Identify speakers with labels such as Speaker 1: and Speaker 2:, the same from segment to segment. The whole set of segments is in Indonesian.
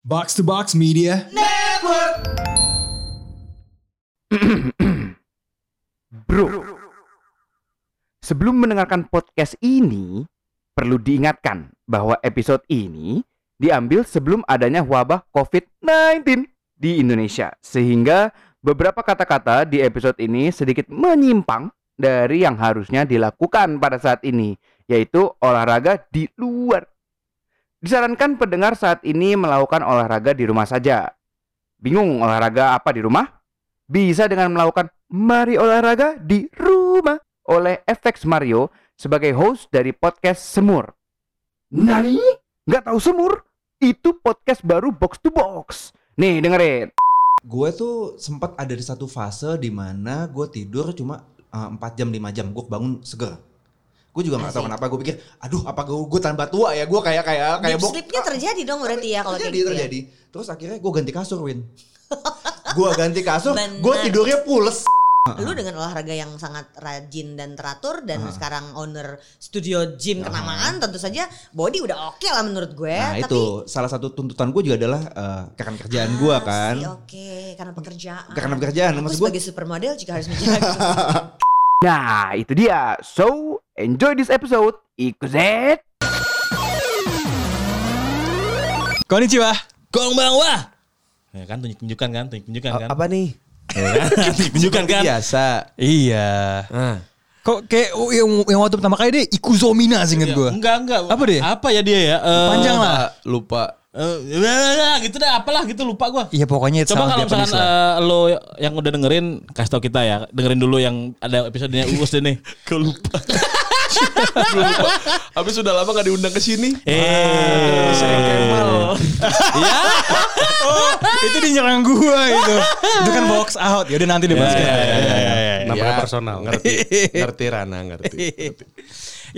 Speaker 1: Box to Box Media.
Speaker 2: Bro, sebelum mendengarkan podcast ini, perlu diingatkan bahwa episode ini diambil sebelum adanya wabah COVID-19 di Indonesia. Sehingga beberapa kata-kata di episode ini sedikit menyimpang dari yang harusnya dilakukan pada saat ini, yaitu olahraga di luar. Disarankan pendengar saat ini melakukan olahraga di rumah saja. Bingung olahraga apa di rumah? bisa dengan melakukan Mari Olahraga di Rumah oleh FX Mario sebagai host dari podcast Semur. Nani? Nggak tahu Semur? Itu podcast baru box to box. Nih dengerin.
Speaker 3: Gue tuh sempat ada di satu fase di mana gue tidur cuma eh, empat 4 jam 5 jam gue bangun seger. Gue juga nggak tahu kenapa gue pikir, aduh apa gue gue tambah tua ya? Gue kayak kayak kayak
Speaker 4: Deep
Speaker 3: bok-
Speaker 4: sleepnya terjadi dong berarti ya kalau
Speaker 3: terjadi
Speaker 4: kayak gitu ya.
Speaker 3: terjadi. Terus akhirnya gue ganti kasur Win. gue ganti kasur,
Speaker 4: Benar.
Speaker 3: gue tidurnya pules.
Speaker 4: Lu dengan olahraga yang sangat rajin dan teratur dan
Speaker 3: Ah.
Speaker 4: sekarang owner studio
Speaker 3: Ah.
Speaker 4: gym kenamaan tentu saja body udah oke lah menurut gue.
Speaker 3: Nah
Speaker 4: Ya, tapi
Speaker 3: itu salah satu tuntutan gue juga adalah eh, karena kerjaan gue
Speaker 4: Ah,
Speaker 3: kan.
Speaker 4: sih, Oke, karena pekerjaan.
Speaker 3: Karena pekerjaan,
Speaker 4: Aku
Speaker 3: maksud gue
Speaker 4: sebagai supermodel juga harus menjaga.
Speaker 2: Nah itu dia. So enjoy this episode. Ikut
Speaker 1: Konnichiwa.
Speaker 5: Kongbang wah. Ya kan tunjuk tunjukkan kan, tunjuk tunjukkan kan.
Speaker 3: Apa nih?
Speaker 5: tunjuk tunjukkan kan.
Speaker 3: Biasa.
Speaker 1: Iya. Kok kayak oh, yang, yang waktu pertama kali deh Ikuzomina sih inget
Speaker 5: Ya,
Speaker 1: gue.
Speaker 5: Enggak, enggak.
Speaker 1: Apa dia?
Speaker 5: Apa ya dia ya? Eh,
Speaker 1: Panjang lah.
Speaker 3: Lupa.
Speaker 5: eh, eh, gitu deh, apalah gitu lupa gua.
Speaker 1: Iya pokoknya itu
Speaker 5: Coba kalau
Speaker 1: Japanese
Speaker 5: misalkan
Speaker 1: lah.
Speaker 5: eh, lo yang udah dengerin kasih tau kita ya. Dengerin dulu yang ada episodenya Uus deh nih. Gua lupa.
Speaker 6: Habis sudah lama gak diundang ke sini.
Speaker 1: Ah.
Speaker 5: Eh, Ya.
Speaker 1: Oh, itu dinyerang gue itu. itu kan box out. Ya udah nanti dibahas.
Speaker 5: Ya, ya, ya, ya, ya.
Speaker 6: Namanya personal. Ngerti. ngerti Rana, ngerti.
Speaker 5: iya.
Speaker 6: ngerti.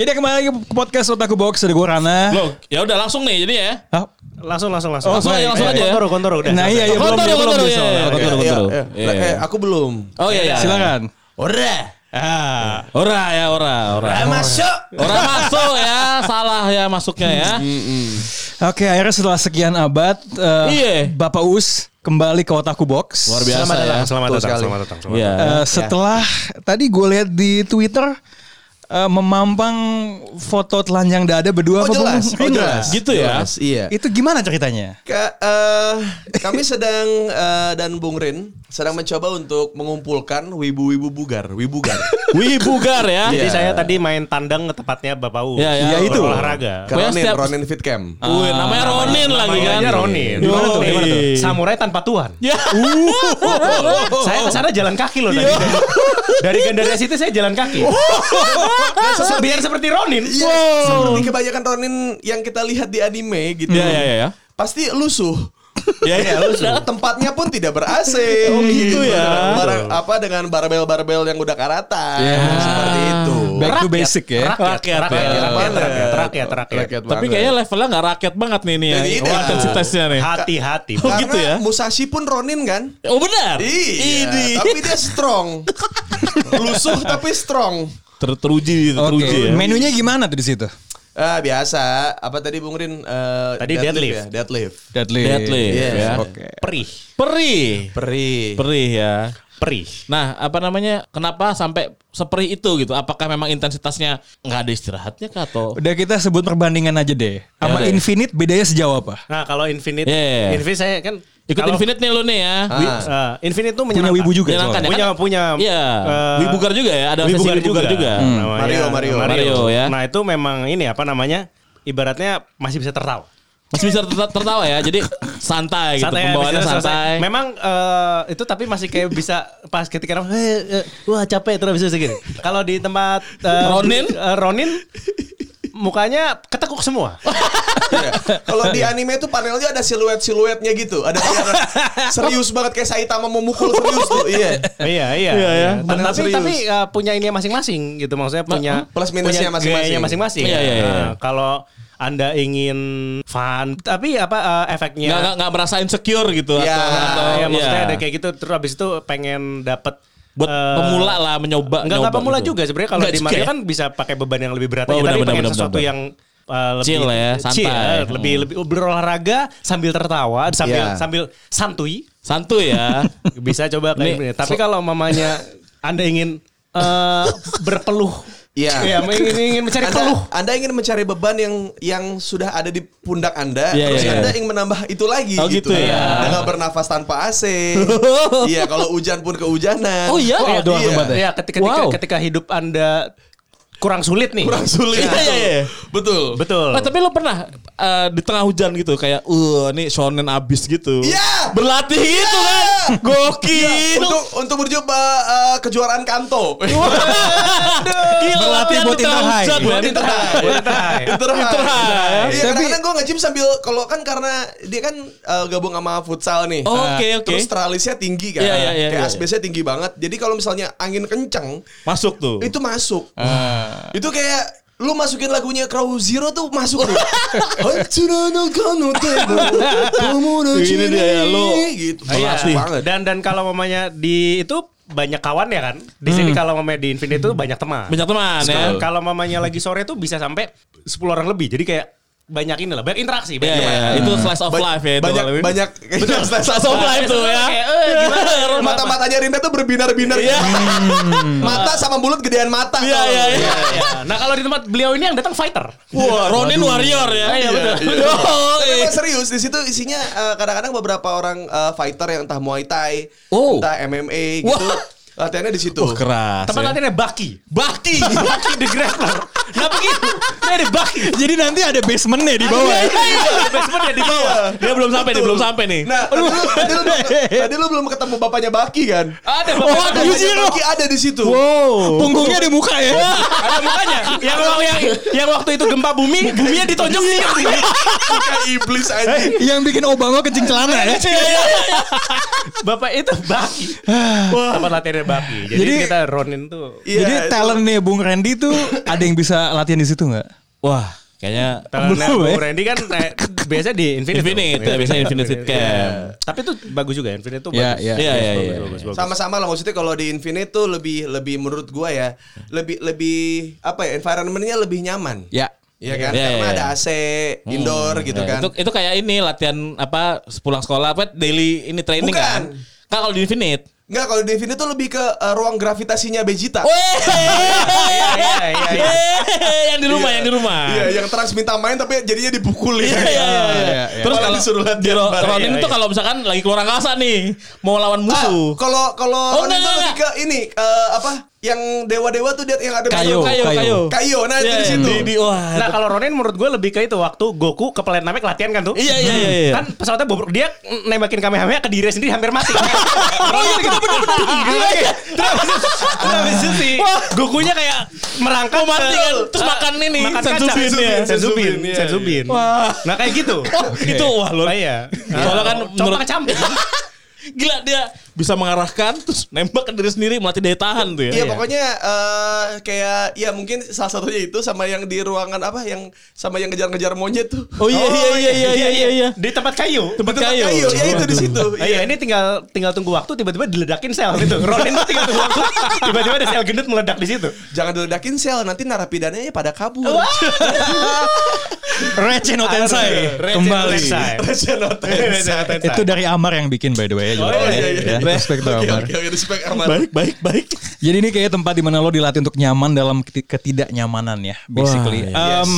Speaker 1: Jadi Ya kembali lagi ke podcast Otaku Box dari gue Rana. Ah,
Speaker 5: Lo, ya udah langsung nih jadi ya.
Speaker 1: Hah?
Speaker 6: Langsung, langsung, langsung.
Speaker 5: Oh, langsung aja, langsung aja ya.
Speaker 6: Kontoro, kontoro, udah.
Speaker 1: Nah iya iya eh, belum
Speaker 5: Kontoro,
Speaker 1: dia belum
Speaker 5: kontoro,
Speaker 1: dia
Speaker 5: iya,
Speaker 1: soalnya.
Speaker 5: iya,
Speaker 1: Oke.
Speaker 5: kontoro, kontoro.
Speaker 6: Iya, iya.
Speaker 5: Iya.
Speaker 6: Eh, aku belum.
Speaker 5: Oh iya iya.
Speaker 1: Silakan.
Speaker 6: Ora.
Speaker 1: Ah.
Speaker 5: Ora ya, ora, ora.
Speaker 6: Masuk.
Speaker 5: Ora masuk ya, salah ya masuknya ya.
Speaker 1: Oke akhirnya setelah sekian abad eh,
Speaker 5: Iya.
Speaker 1: Bapak Us kembali ke Otaku Box.
Speaker 5: Luar biasa
Speaker 6: Selamat datang,
Speaker 5: ya.
Speaker 3: Betul
Speaker 6: selamat datang,
Speaker 3: sekali.
Speaker 6: selamat datang. selamat
Speaker 5: Iya.
Speaker 6: datang.
Speaker 1: Eh, setelah tadi gue lihat di Twitter eh, memampang foto telanjang dada berdua apa
Speaker 6: Oh jelas,
Speaker 1: belum?
Speaker 6: oh
Speaker 1: Iya.
Speaker 6: jelas.
Speaker 5: Gitu ya?
Speaker 6: Jelas, Iya.
Speaker 1: Itu gimana ceritanya?
Speaker 6: Ka- eh, kami sedang eh, dan Bung Rin sedang mencoba untuk mengumpulkan wibu-wibu bugar, wibugar.
Speaker 5: Wibugar ya.
Speaker 7: Jadi
Speaker 6: Iya.
Speaker 7: saya tadi main tandang ke tempatnya Bapak U.
Speaker 5: Iya, iya. Iya,
Speaker 1: itu.
Speaker 7: Olahraga.
Speaker 6: Ronin,
Speaker 5: setiap- Oh,
Speaker 6: Ronin Fit Camp.
Speaker 5: Ah. Wih, namanya Ronin lagi kan.
Speaker 7: Namanya Ronin.
Speaker 5: Gimana tuh? Gimana tuh? Uh.
Speaker 7: Samurai tanpa Tuhan.
Speaker 5: Ya.
Speaker 7: Saya kesana jalan kaki loh tadi. Dari, dari Gandaria City saya jalan kaki. Biar seperti Ronin.
Speaker 6: Iya, Seperti kebanyakan Ronin yang kita lihat di anime gitu.
Speaker 5: Ya, ya, ya, ya.
Speaker 6: Pasti lusuh.
Speaker 5: Ya, ya, lu
Speaker 6: Nah, tempatnya pun tidak ber AC.
Speaker 5: Oh, gitu ya.
Speaker 6: Dengan barang- apa dengan barbel-barbel yang udah karatan
Speaker 5: Ah. Iya.
Speaker 6: seperti itu.
Speaker 1: Back to basic ya.
Speaker 5: Rakyat,
Speaker 7: Rakyat, rakyat,
Speaker 5: ya.
Speaker 7: rakyat, rakyat, rakyat, rakyat.
Speaker 6: Rakyat
Speaker 5: Tapi
Speaker 6: banget.
Speaker 5: kayaknya levelnya nggak rakyat banget nih nih ya.
Speaker 6: Jadi ini
Speaker 5: Intensitasnya nih.
Speaker 7: Hati-hati.
Speaker 5: Oh,
Speaker 6: karena
Speaker 5: gitu ya?
Speaker 6: Musashi pun Ronin kan?
Speaker 5: Oh benar.
Speaker 6: Iya, tapi dia strong. Lusuh tapi strong.
Speaker 5: Ter teruji,
Speaker 1: Oke,
Speaker 5: teruji ya.
Speaker 1: menunya gimana tuh di situ?
Speaker 6: Ah, biasa. Apa tadi Bung Rin? Eh,
Speaker 7: Tadi deadlift.
Speaker 6: ya? Deadlift.
Speaker 1: Deadly.
Speaker 5: Deadlift
Speaker 6: Yes,
Speaker 5: ya.
Speaker 1: Oke.
Speaker 7: Perih,
Speaker 5: Perih.
Speaker 6: Perih.
Speaker 5: Perih ya.
Speaker 7: perih.
Speaker 5: Nah, apa namanya? Kenapa sampai seperih itu gitu? Apakah memang intensitasnya nggak ada istirahatnya kah atau?
Speaker 1: Udah kita sebut perbandingan aja deh.
Speaker 5: Ya
Speaker 1: Sama
Speaker 5: udah.
Speaker 1: Infinite bedanya sejauh apa?
Speaker 7: Nah kalau Infinite,
Speaker 5: Iya.
Speaker 7: Infinite saya kan
Speaker 5: Ikut
Speaker 7: kalau-
Speaker 5: Infinite nih lo nih ya.
Speaker 7: Wi- eh, Infinite tuh
Speaker 1: Punya
Speaker 7: menyenangkan.
Speaker 1: wibu juga
Speaker 5: Menyenangkan
Speaker 1: soalnya.
Speaker 5: ya.
Speaker 7: Punya, punya.
Speaker 5: Iya.
Speaker 7: eh,
Speaker 5: Wibugar juga ya. Ada sesi
Speaker 7: Wibugar
Speaker 5: Wibugar juga.
Speaker 7: Namanya
Speaker 6: Mario, Mario.
Speaker 5: Mario, ya.
Speaker 7: Nah itu memang ini apa namanya? Ibaratnya masih bisa tertawa.
Speaker 5: Masih bisa terta- tertawa ya. Jadi santai gitu.
Speaker 7: Santai,
Speaker 5: Pembawaannya
Speaker 7: bisa selesai.
Speaker 5: santai.
Speaker 7: Memang eh, itu tapi masih kayak bisa pas ketika orang, "Eh, eh, wah capek terus bisa segini. Kalau di tempat eh,
Speaker 5: Ronin?
Speaker 7: eh, Ronin mukanya ketekuk semua.
Speaker 6: Iya. Kalau di anime tuh panelnya ada siluet-siluetnya gitu. Ada serius banget kayak Saitama mau mukul serius tuh. Iya.
Speaker 7: iya, iya.
Speaker 5: Iya, ya.
Speaker 7: Nah,
Speaker 6: Benar,
Speaker 7: tapi
Speaker 6: serius. Nah,
Speaker 7: tapi eh, punya ini masing-masing gitu maksudnya punya
Speaker 6: Plus minusnya
Speaker 7: punya
Speaker 6: masing-masing.
Speaker 7: gayanya masing-masing.
Speaker 5: Iya, iya, iya.
Speaker 7: Nah, kalau anda ingin fun, tapi apa eh, efeknya?
Speaker 5: nggak nggak nggak merasa insecure gitu
Speaker 6: Ya,
Speaker 5: atau, atau
Speaker 7: Ah, ya, maksudnya
Speaker 5: ya.
Speaker 7: ada kayak gitu terus abis itu pengen eh, dapat
Speaker 5: buat pemula lah menyoba
Speaker 7: Enggak
Speaker 5: nyoba
Speaker 7: enggak pemula
Speaker 5: gitu.
Speaker 7: juga sebenarnya kalau
Speaker 5: Nggak
Speaker 7: di
Speaker 5: juga
Speaker 7: Mario
Speaker 5: ya?
Speaker 7: kan bisa pakai beban yang lebih berat
Speaker 5: Oh,
Speaker 7: aja,
Speaker 5: benar,
Speaker 7: tapi
Speaker 5: benar,
Speaker 7: pengen
Speaker 5: benar,
Speaker 7: sesuatu
Speaker 5: benar.
Speaker 7: yang eh, lebih
Speaker 5: Chill ya, santai. Hmm.
Speaker 7: chill, lebih lebih berolahraga sambil tertawa, sambil
Speaker 3: Iya.
Speaker 7: sambil santuy.
Speaker 5: Santuy ya.
Speaker 7: Bisa coba kayak
Speaker 5: Ini-
Speaker 7: gini. Tapi kalau mamanya Anda ingin eh, berpeluh,
Speaker 6: Iya.
Speaker 7: ya ingin, ingin mencari
Speaker 6: Anda,
Speaker 7: peluh.
Speaker 6: Nah, Anda ingin mencari beban yang yang sudah ada di pundak Anda,
Speaker 5: Iya,
Speaker 6: terus
Speaker 5: iya,
Speaker 6: Anda
Speaker 5: iya.
Speaker 6: ingin menambah itu lagi
Speaker 5: Oh, gitu ya.
Speaker 6: Anda nggak bernafas tanpa AC. Iya, kalau hujan pun kehujanan.
Speaker 5: Oh, iya?
Speaker 6: Wah,
Speaker 5: Iya, doang tempat
Speaker 7: Ya ketika ketika,
Speaker 5: Wow.
Speaker 7: ketika hidup Anda kurang sulit nih.
Speaker 6: Kurang sulit.
Speaker 5: Iya, iya, iya.
Speaker 6: Betul.
Speaker 7: Betul.
Speaker 5: Nah, tapi lo pernah eh, di tengah hujan gitu kayak uh ini shonen abis gitu.
Speaker 6: Iya.
Speaker 5: Berlatih gitu kan. Gokil.
Speaker 6: Untuk untuk menuju ba- eh, kejuaraan kanto.
Speaker 5: Gila,
Speaker 1: Berlatih
Speaker 5: latihan
Speaker 1: buat
Speaker 5: di tengah
Speaker 1: Interhigh.
Speaker 5: hujan,
Speaker 6: Buat
Speaker 5: men.
Speaker 6: Interhigh.
Speaker 7: Interhigh.
Speaker 6: Interhigh.
Speaker 5: Interhigh.
Speaker 6: Iya,
Speaker 1: Tapi-
Speaker 6: kadang-kadang gue nge-gym sambil kalau kan karena dia kan eh, gabung sama futsal nih.
Speaker 5: Oh,
Speaker 6: Nah,
Speaker 5: Oke, oke.
Speaker 6: Terus tralisnya tinggi kan.
Speaker 5: Iya, iya, iya,
Speaker 6: Kayak
Speaker 5: iya.
Speaker 6: asbesnya tinggi banget. Jadi kalau misalnya angin kenceng,
Speaker 5: Masuk tuh. Ah.
Speaker 6: itu masuk. Itu kayak lu masukin lagunya Crow Zero tuh masuk tuh.
Speaker 5: Ini
Speaker 6: Ini
Speaker 5: dia ya, lu.
Speaker 6: gitu.
Speaker 5: Iya.
Speaker 6: Masuk banget.
Speaker 7: Dan dan kalau mamanya di itu banyak kawan ya kan. Di sini kalau mamanya di Infinity itu banyak teman.
Speaker 5: Hmm. Banyak teman ya.
Speaker 7: Nah, kalau mamanya lagi sore tuh bisa sampai 10 orang lebih. Jadi kayak banyak ini lah, banyak interaksi,
Speaker 5: Iya,
Speaker 7: banyak
Speaker 5: iya,
Speaker 7: teman.
Speaker 5: iya. itu slice of life ya itu.
Speaker 6: banyak
Speaker 5: Bang Lewin.
Speaker 6: banyak
Speaker 5: Betul, slice of life tuh ya.
Speaker 7: Kayak, eh, gimana ya, rumah-
Speaker 6: mata-matanya Rinda tuh berbinar-binar
Speaker 5: Iya.
Speaker 6: mata sama mulut gedean mata
Speaker 5: Iya,
Speaker 6: kalau.
Speaker 5: iya, iya.
Speaker 7: Iya, iya. Nah, kalau di tempat beliau ini yang datang fighter.
Speaker 5: Wah, Ronin warrior ya.
Speaker 7: Iya, betul.
Speaker 6: Tapi
Speaker 5: Yoi.
Speaker 6: emang serius di situ isinya eh, kadang-kadang beberapa orang eh, fighter yang entah Muay Thai,
Speaker 5: Oh.
Speaker 6: entah MMA gitu.
Speaker 5: Wah.
Speaker 6: Latihannya di situ.
Speaker 5: Wah, keras.
Speaker 7: Tempat
Speaker 5: ya.
Speaker 7: latihannya Iya. Baki.
Speaker 5: Bakti.
Speaker 7: Baki the Grappler. Kenapa gitu? Ini ada Baki.
Speaker 1: Jadi nanti ada basementnya di bawah.
Speaker 5: Iya.
Speaker 1: ya?
Speaker 7: Basementnya di bawah.
Speaker 5: Dia belum sampai nih, belum sampai nih.
Speaker 6: Nah, tadi lu, tadi, lu, tadi lu belum ketemu bapaknya Baki kan?
Speaker 7: Ada
Speaker 5: Oh,
Speaker 7: bapaknya.
Speaker 5: ada
Speaker 6: Bapaknya
Speaker 5: Yujiro.
Speaker 6: Baki ada di situ.
Speaker 1: Punggungnya ada muka ya.
Speaker 7: Ada mukanya. Yang, yang, yang waktu itu gempa bumi, buminya ditonjok.
Speaker 6: Kayak iblis anjing.
Speaker 1: Yang bikin Obama kencing celana ya.
Speaker 7: Bapak itu Baki. Wah, tempat latihannya Baki. Jadi,
Speaker 1: Jadi-
Speaker 7: kita Ronin tuh. eh,
Speaker 6: Iya,
Speaker 1: Jadi
Speaker 6: itu-
Speaker 1: talent nih Bung Randy tuh ada yang bisa latihan di situ nggak?
Speaker 5: Wah, kayaknya
Speaker 7: Karena
Speaker 1: Belum,
Speaker 7: Bung
Speaker 1: ya?
Speaker 7: Randy kan eh, biasanya di Infinite.
Speaker 5: Infinite,
Speaker 7: tuh.
Speaker 5: biasanya Infinite Fit Camp.
Speaker 7: Iya. Tapi itu bagus juga Infinite itu
Speaker 1: Iya,
Speaker 7: bagus.
Speaker 1: iya.
Speaker 5: Iya, iya,
Speaker 7: Bagus,
Speaker 5: iya.
Speaker 7: bagus, bagus.
Speaker 6: Sama-sama lah maksudnya kalau di Infinite tuh lebih lebih menurut gua ya, lebih lebih apa ya environmentnya lebih nyaman.
Speaker 1: Ya.
Speaker 6: Iya kan?
Speaker 5: Iya,
Speaker 6: Karena
Speaker 5: iya.
Speaker 6: ada AC, indoor gitu
Speaker 5: Ya,
Speaker 6: kan.
Speaker 5: Itu, itu kayak ini latihan apa pulang sekolah apa daily ini training
Speaker 6: Bukan.
Speaker 5: kan? Kan kalau di Infinite.
Speaker 6: Enggak, kalau di Infinite tuh lebih ke eh, ruang gravitasinya Vegeta.
Speaker 7: Iya, iya, iya, iya.
Speaker 5: yang di rumah, yang di rumah.
Speaker 6: Iya, yang trans minta main tapi jadinya ya. dipukulin.
Speaker 5: Iya, iya,
Speaker 1: iya,
Speaker 5: iya.
Speaker 1: iya.
Speaker 5: Terus
Speaker 6: Malah
Speaker 5: kalau
Speaker 6: disuruh
Speaker 5: di
Speaker 6: latihan
Speaker 5: Ro-
Speaker 6: bareng.
Speaker 5: Ronin
Speaker 7: Iya,
Speaker 5: itu
Speaker 7: iya.
Speaker 5: kalau misalkan lagi keluar angkasa nih, mau lawan
Speaker 6: Ah,
Speaker 5: musuh.
Speaker 6: kalau kalau
Speaker 5: Oh,
Speaker 6: Ronin
Speaker 5: enggak,
Speaker 6: tuh
Speaker 5: enggak,
Speaker 6: lebih ke ini eh, apa? Yang dewa-dewa tuh dia yang ada
Speaker 1: Kayo,
Speaker 5: kayo,
Speaker 1: kayo.
Speaker 5: kayo.
Speaker 6: Kayo, nah itu
Speaker 5: Iya,
Speaker 6: di situ.
Speaker 5: Di, di- wah.
Speaker 7: Nah kalau Ronin menurut gue lebih ke itu waktu Goku ke Planet Namek latihan kan tuh.
Speaker 5: Iya, iya, iya, iya.
Speaker 7: Kan pesawatnya bobrok dia nembakin Kamehameha ke diri sendiri hampir mati. oh iya bener bener bener. Gitu lagi.
Speaker 5: iya.
Speaker 7: Terus habis itu- terus habis itu si Gokunya kayak merangkak
Speaker 5: Oh, mati
Speaker 7: ke-
Speaker 5: kan? Terus
Speaker 7: eh,
Speaker 5: makan ini,
Speaker 7: makan
Speaker 5: sensubin
Speaker 7: kacang.
Speaker 5: ya.
Speaker 7: Sensubin,
Speaker 6: Sensubin, iya,
Speaker 7: sensubin. Nah kayak gitu.
Speaker 5: Oh, Itu wah lo.
Speaker 7: Iya.
Speaker 5: Soalnya kan
Speaker 7: coba
Speaker 5: menurut-
Speaker 7: kecampur.
Speaker 5: Gila dia bisa mengarahkan terus nembak ke diri sendiri melatih daya tahan tuh ya.
Speaker 6: Iya pokoknya eh, kayak ya mungkin salah satunya itu sama yang di ruangan apa yang sama yang ngejar-ngejar monyet tuh.
Speaker 5: Oh iya iya iya iya iya iya. iya.
Speaker 7: Di tempat kayu.
Speaker 5: Tempat kayu.
Speaker 6: Kayo, ya itu di situ.
Speaker 7: Ah, Iya, ini tinggal tinggal tunggu waktu tiba-tiba diledakin sel gitu. Ronin tuh tinggal tunggu waktu tiba-tiba ada sel gendut meledak di situ.
Speaker 6: Jangan diledakin sel, nanti narapidananya pada kabur.
Speaker 1: Receh no Tensai
Speaker 7: Kembali.
Speaker 6: Rasional tensa.
Speaker 1: Itu dari Amar yang bikin by the way.
Speaker 7: Oh, iya, iya,
Speaker 1: Ya, respect to
Speaker 6: Oke,
Speaker 1: Amar.
Speaker 6: oke, oke, respect Arman.
Speaker 5: Baik baik baik.
Speaker 1: Jadi ini kayak tempat dimana lo dilatih untuk nyaman dalam keti- ketidaknyamanan ya, basically.
Speaker 5: Wah,
Speaker 1: Em,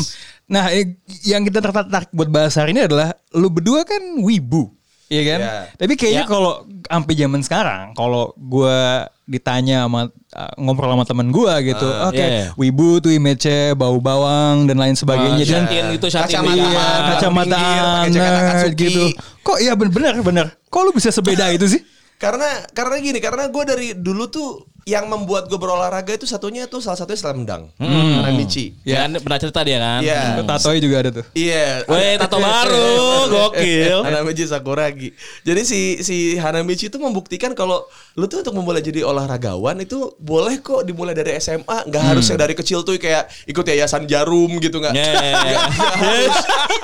Speaker 1: Nah, eh, yang kita tertarik buat bahas hari ini adalah lo berdua kan wibu, iya kan?
Speaker 6: Iya.
Speaker 1: Tapi kayaknya
Speaker 5: Ya.
Speaker 1: kalau sampai zaman sekarang, kalau gua ditanya sama eh, ngobrol sama temen gua gitu, oke,
Speaker 5: iya, iya.
Speaker 1: wibu tuh image bau bawang dan lain sebagainya. Dan
Speaker 5: Shantin gitu Shantin.
Speaker 6: Kacamata.
Speaker 1: Iya,
Speaker 6: Tangan,
Speaker 1: kacamata
Speaker 6: pinggir, pakai jaket
Speaker 1: anget
Speaker 6: Akatsuki.
Speaker 1: gitu. Kok iya bener-bener bener. Kok lu bisa sebeda itu sih?
Speaker 6: Karena karena gini, karena gue dari dulu tuh yang membuat gue berolahraga itu satunya tuh salah satunya slam dunk, karena Michi.
Speaker 5: Ya kan pernah cerita dia kan.
Speaker 6: Iya.
Speaker 1: Tatoe juga ada tuh.
Speaker 6: Iya.
Speaker 5: Weh, tato baru, gokil.
Speaker 6: Hanamichi Sakuragi. Jadi si si Hanamichi itu membuktikan kalau lu tuh untuk memulai jadi olahragawan itu boleh kok dimulai dari SMA, nggak harus
Speaker 5: Hmm.
Speaker 6: yang dari kecil tuh kayak ikut yayasan jarum gitu nggak?
Speaker 5: Iya.
Speaker 6: Nggak harus.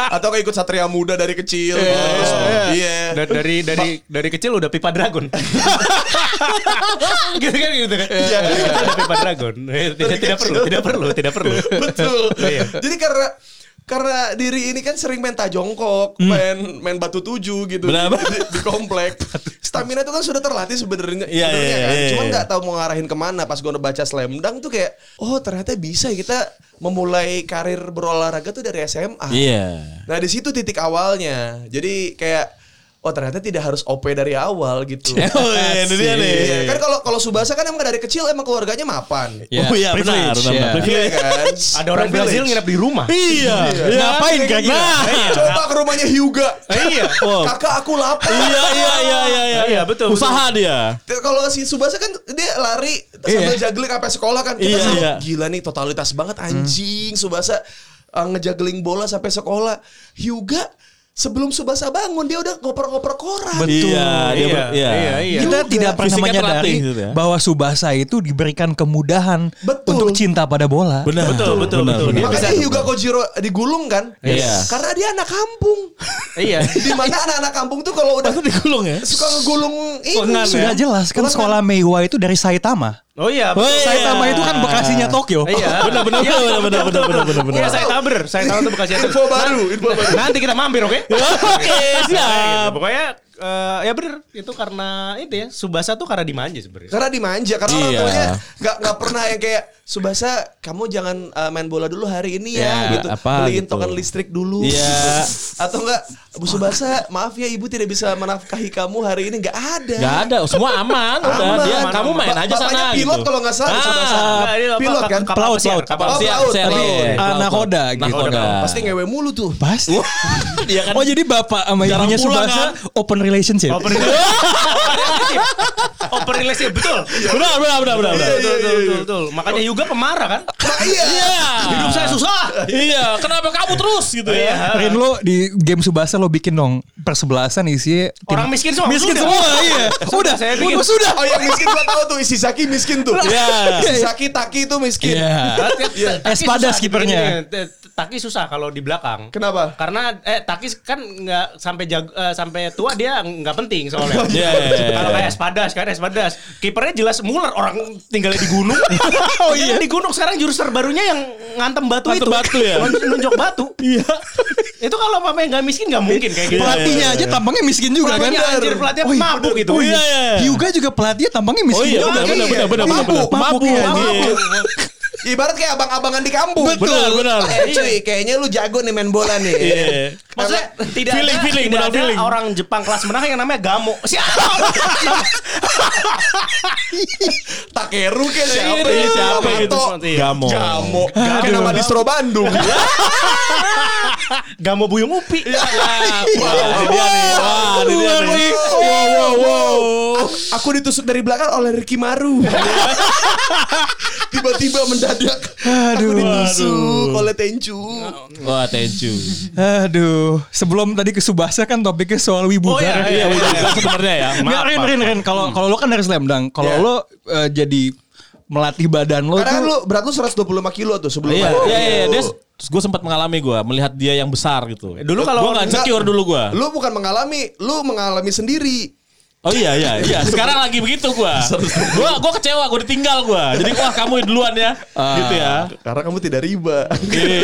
Speaker 6: Atau kayak ikut satria muda dari kecil. Terus,
Speaker 5: Oh.
Speaker 6: Iya.
Speaker 7: Dan dari dari dari kecil udah pipa dragon. gitu kan gitu kan. Iya,
Speaker 5: Iya,
Speaker 7: udah pipa dragon. Tidak, tidak perlu, tidak perlu, tidak perlu.
Speaker 6: Betul.
Speaker 7: Iya.
Speaker 6: Jadi karena karena diri ini kan sering main tajongkok, main main batu tujuh gitu di,
Speaker 5: Hmm. Benar.
Speaker 6: di, di komplek. Stamina itu kan sudah terlatih sebenarnya,
Speaker 5: Iya,
Speaker 6: sebenarnya
Speaker 5: iya,
Speaker 6: kan.
Speaker 5: iya,
Speaker 6: Cuman
Speaker 5: iya.
Speaker 6: nggak tahu mau ngarahin kemana. Pas gue baca slam dunk tuh kayak, oh ternyata bisa ya kita memulai karir berolahraga tuh dari SMA.
Speaker 5: Iya.
Speaker 6: Nah di situ titik awalnya. Jadi kayak oh ternyata tidak harus OP dari awal gitu.
Speaker 5: Oh, iya, itu dia nih.
Speaker 6: Iya, kan kalau kalau Subasa kan emang dari kecil emang keluarganya mapan.
Speaker 5: Ya,
Speaker 1: Oh, iya,
Speaker 5: benar,
Speaker 1: privilege,
Speaker 5: benar,
Speaker 1: ya.
Speaker 5: benar.
Speaker 6: Iya kan?
Speaker 7: Ada orang Brazil nginep di rumah.
Speaker 5: Iya,
Speaker 6: Iya.
Speaker 5: ngapain kan?
Speaker 6: Iya.
Speaker 5: Nah,
Speaker 6: Coba ke rumahnya Hyuga.
Speaker 7: Iya.
Speaker 5: Wow.
Speaker 6: Kakak aku lapar.
Speaker 5: Eh, iya, iya, iya, iya, iya,
Speaker 7: Iya, betul,
Speaker 5: Usaha dia.
Speaker 6: Kalau si Subasa kan dia lari sambil juggling sampai sekolah kan. Kita
Speaker 5: Iya,
Speaker 6: selalu,
Speaker 5: iya.
Speaker 6: gila nih totalitas banget anjing Subasa uh, ngejagling bola sampai sekolah. Hyuga sebelum Subasa bangun dia udah ngoper-ngoper koran.
Speaker 1: Betul.
Speaker 5: Iya, dia ber-
Speaker 7: Iya,
Speaker 5: iya.
Speaker 7: iya, iya.
Speaker 1: Kita tidak pernah
Speaker 5: Fisiknya
Speaker 1: menyadari
Speaker 5: terlatih gitu ya.
Speaker 1: bahwa Subasa itu diberikan kemudahan
Speaker 6: Betul.
Speaker 1: untuk cinta pada bola.
Speaker 5: Benar,
Speaker 7: Betul, betul,
Speaker 5: benar,
Speaker 7: betul.
Speaker 5: benar.
Speaker 6: Makanya Hyuga Kojiro digulung kan?
Speaker 5: Yes.
Speaker 6: Karena dia anak kampung.
Speaker 7: Iya.
Speaker 6: Di mana anak-anak kampung tuh kalau udah
Speaker 5: Itu digulung ya?
Speaker 6: suka ngegulung ini.
Speaker 7: Lengan ya?
Speaker 1: Sudah jelas kan sekolah Meiwa itu dari Saitama.
Speaker 7: Oh iya.
Speaker 5: Oh, iya. Oh.
Speaker 1: Saitama itu kan bekasinya Tokyo.
Speaker 7: Iya.
Speaker 5: Benar, benar,
Speaker 7: Iya,
Speaker 5: benar, benar, benar, benar, benar, benar.
Speaker 7: Iya, saya taber. Saya tahu tuh bekasnya.
Speaker 6: Info baru, info baru.
Speaker 7: Nanti kita mampir, oke? Nah, gitu.
Speaker 5: Oke, Iya,
Speaker 7: iya.
Speaker 5: siap.
Speaker 7: Pokoknya eh, ya bener itu karena itu ya Subasa tuh karena dimanja sebenarnya.
Speaker 6: Karena dimanja, karena orang
Speaker 5: Iya.
Speaker 6: tuanya nggak nggak pernah yang kayak Subasa, kamu jangan uh, main bola dulu hari ini ya,
Speaker 5: Ya,
Speaker 6: gitu.
Speaker 5: apa
Speaker 6: Beliin
Speaker 5: gitu.
Speaker 6: token listrik dulu.
Speaker 5: Iya.
Speaker 6: Atau enggak, Bu Subasa, maaf ya ibu tidak bisa menafkahi kamu hari ini nggak ada.
Speaker 5: Gak ada, semua aman, udah.
Speaker 6: Aman.
Speaker 5: Dia, kamu main
Speaker 6: Ba-
Speaker 5: aja
Speaker 6: bapaknya
Speaker 5: sana. gitu. Ah,
Speaker 6: pilot kalau nggak salah, Subasa.
Speaker 7: Nggak, ini apa,
Speaker 6: pilot
Speaker 7: kap-
Speaker 6: kan?
Speaker 7: kapal
Speaker 1: Pelaut,
Speaker 7: pesiar,
Speaker 1: pelaut.
Speaker 7: kapal
Speaker 6: Kapal
Speaker 7: pesiar.
Speaker 6: pelaut.
Speaker 5: Siap,
Speaker 1: Oh,
Speaker 6: Pelaut.
Speaker 5: siap.
Speaker 1: Nakoda gitu.
Speaker 5: Nakoda.
Speaker 6: Pasti ngewe mulu tuh.
Speaker 1: Pasti.
Speaker 5: Dia kan
Speaker 1: Oh jadi bapak sama
Speaker 5: Jarang
Speaker 1: ibunya
Speaker 5: pulang,
Speaker 1: Subasa open relationship.
Speaker 7: Open relationship. Open relationship betul.
Speaker 1: Iya,
Speaker 5: benar, benar, benar, benar.
Speaker 7: Betul, betul, betul, betul, betul. Makanya Yuga pemarah kan?
Speaker 6: Nah, iya.
Speaker 5: Iya.
Speaker 7: Hidup saya susah.
Speaker 5: Iya, kenapa kamu terus gitu ya?
Speaker 1: Rin lo di game Subasa lo bikin dong persebelasan isinya tim-
Speaker 7: Orang miskin semua.
Speaker 1: miskin
Speaker 7: Udah.
Speaker 1: semua iya. Udah,
Speaker 7: saya bikin.
Speaker 1: udah Iya. sudah.
Speaker 6: Oh yang miskin gua tahu tuh isi Saki miskin tuh.
Speaker 5: Iya.
Speaker 6: Isi Saki Taki tuh miskin.
Speaker 1: Iya. Espada skippernya.
Speaker 7: Taki Iya, susah kalau di belakang.
Speaker 6: Kenapa?
Speaker 7: Karena eh Taki kan nggak sampai jago, eh, sampai tua dia nggak penting soalnya.
Speaker 5: Iya, iya, iya.
Speaker 7: Kalau kayak Espadas kan Espadas. Kipernya jelas Muller orang tinggalnya di gunung. oh iya. Di gunung sekarang jurus terbarunya yang ngantem batu
Speaker 5: Ngantem
Speaker 7: itu.
Speaker 5: batu ya?
Speaker 7: Nun- Nunjuk batu. Iya. itu kalau pemain nggak miskin nggak
Speaker 5: Iya.
Speaker 7: mungkin
Speaker 1: Iya,
Speaker 7: kayak gitu.
Speaker 1: Pelatihnya aja tampangnya miskin juga kan.
Speaker 7: Pelatihnya anjir, pelatihnya mabuk gitu.
Speaker 1: Oh
Speaker 5: Iya,
Speaker 1: iya.
Speaker 5: iya.
Speaker 1: Hyuga juga pelatihnya tampangnya miskin.
Speaker 5: Oh iya,
Speaker 1: juga. kan?
Speaker 5: benar,
Speaker 6: iya.
Speaker 5: benar, benar, benar, benar,
Speaker 1: Mabuk,
Speaker 5: benar.
Speaker 1: mabuk,
Speaker 5: Mabuk,
Speaker 1: iya,
Speaker 5: anjing.
Speaker 6: Ibarat kayak abang-abangan di kampung.
Speaker 5: Benar, benar.
Speaker 6: Eh cuy, kayaknya lu jago nih main bola nih.
Speaker 5: Iya.
Speaker 7: Maksudnya tidak
Speaker 5: Feeling,
Speaker 7: ada,
Speaker 5: feeling,
Speaker 7: tidak
Speaker 5: benar,
Speaker 7: ada
Speaker 5: feeling.
Speaker 7: orang Jepang kelas menengah yang namanya Gamo. Siapa?
Speaker 6: Takeru kayak siapa?
Speaker 5: Iya,
Speaker 6: ya?
Speaker 5: siapa gitu.
Speaker 6: Mato.
Speaker 5: Gamo.
Speaker 6: Gamo. Kayak nama distro Bandung.
Speaker 7: Gamo Buyung Upi.
Speaker 5: Iya.
Speaker 6: Iya.
Speaker 5: Wah, ini dia nih. Wah, ini dia nih. Wow, wow, wow.
Speaker 6: Aku ditusuk dari belakang oleh Ricky Maru. Tiba-tiba mendadak. Aku ditusuk oleh Tenchu.
Speaker 5: Wah, tenju.
Speaker 1: iya. Aduh, sebelum tadi ke Subasa kan topiknya soal wibu.
Speaker 5: Iya, iya, iya. sebenarnya ya.
Speaker 1: Enggak, Rin, Rin, Rin. Kalau kalau lo kan dari slam dunk. Kalau
Speaker 6: Iya.
Speaker 1: lo eh, jadi melatih badan lo
Speaker 6: Karena kan
Speaker 1: tuh
Speaker 6: lu berat lu 125 kilo tuh sebelum
Speaker 5: Iya, iya, iya. Dia, gue sempat mengalami gue melihat dia yang besar gitu.
Speaker 7: Dulu kalau-
Speaker 5: gue nggak secure dulu gue.
Speaker 6: Lu bukan mengalami, lu mengalami sendiri.
Speaker 5: Oh iya iya iya. Sekarang lagi begitu gua. Gua gua kecewa, gua ditinggal gua. Jadi wah kamu duluan ya.
Speaker 7: Ah.
Speaker 5: gitu ya. Iya.
Speaker 6: Karena kamu tidak riba.
Speaker 7: Iya.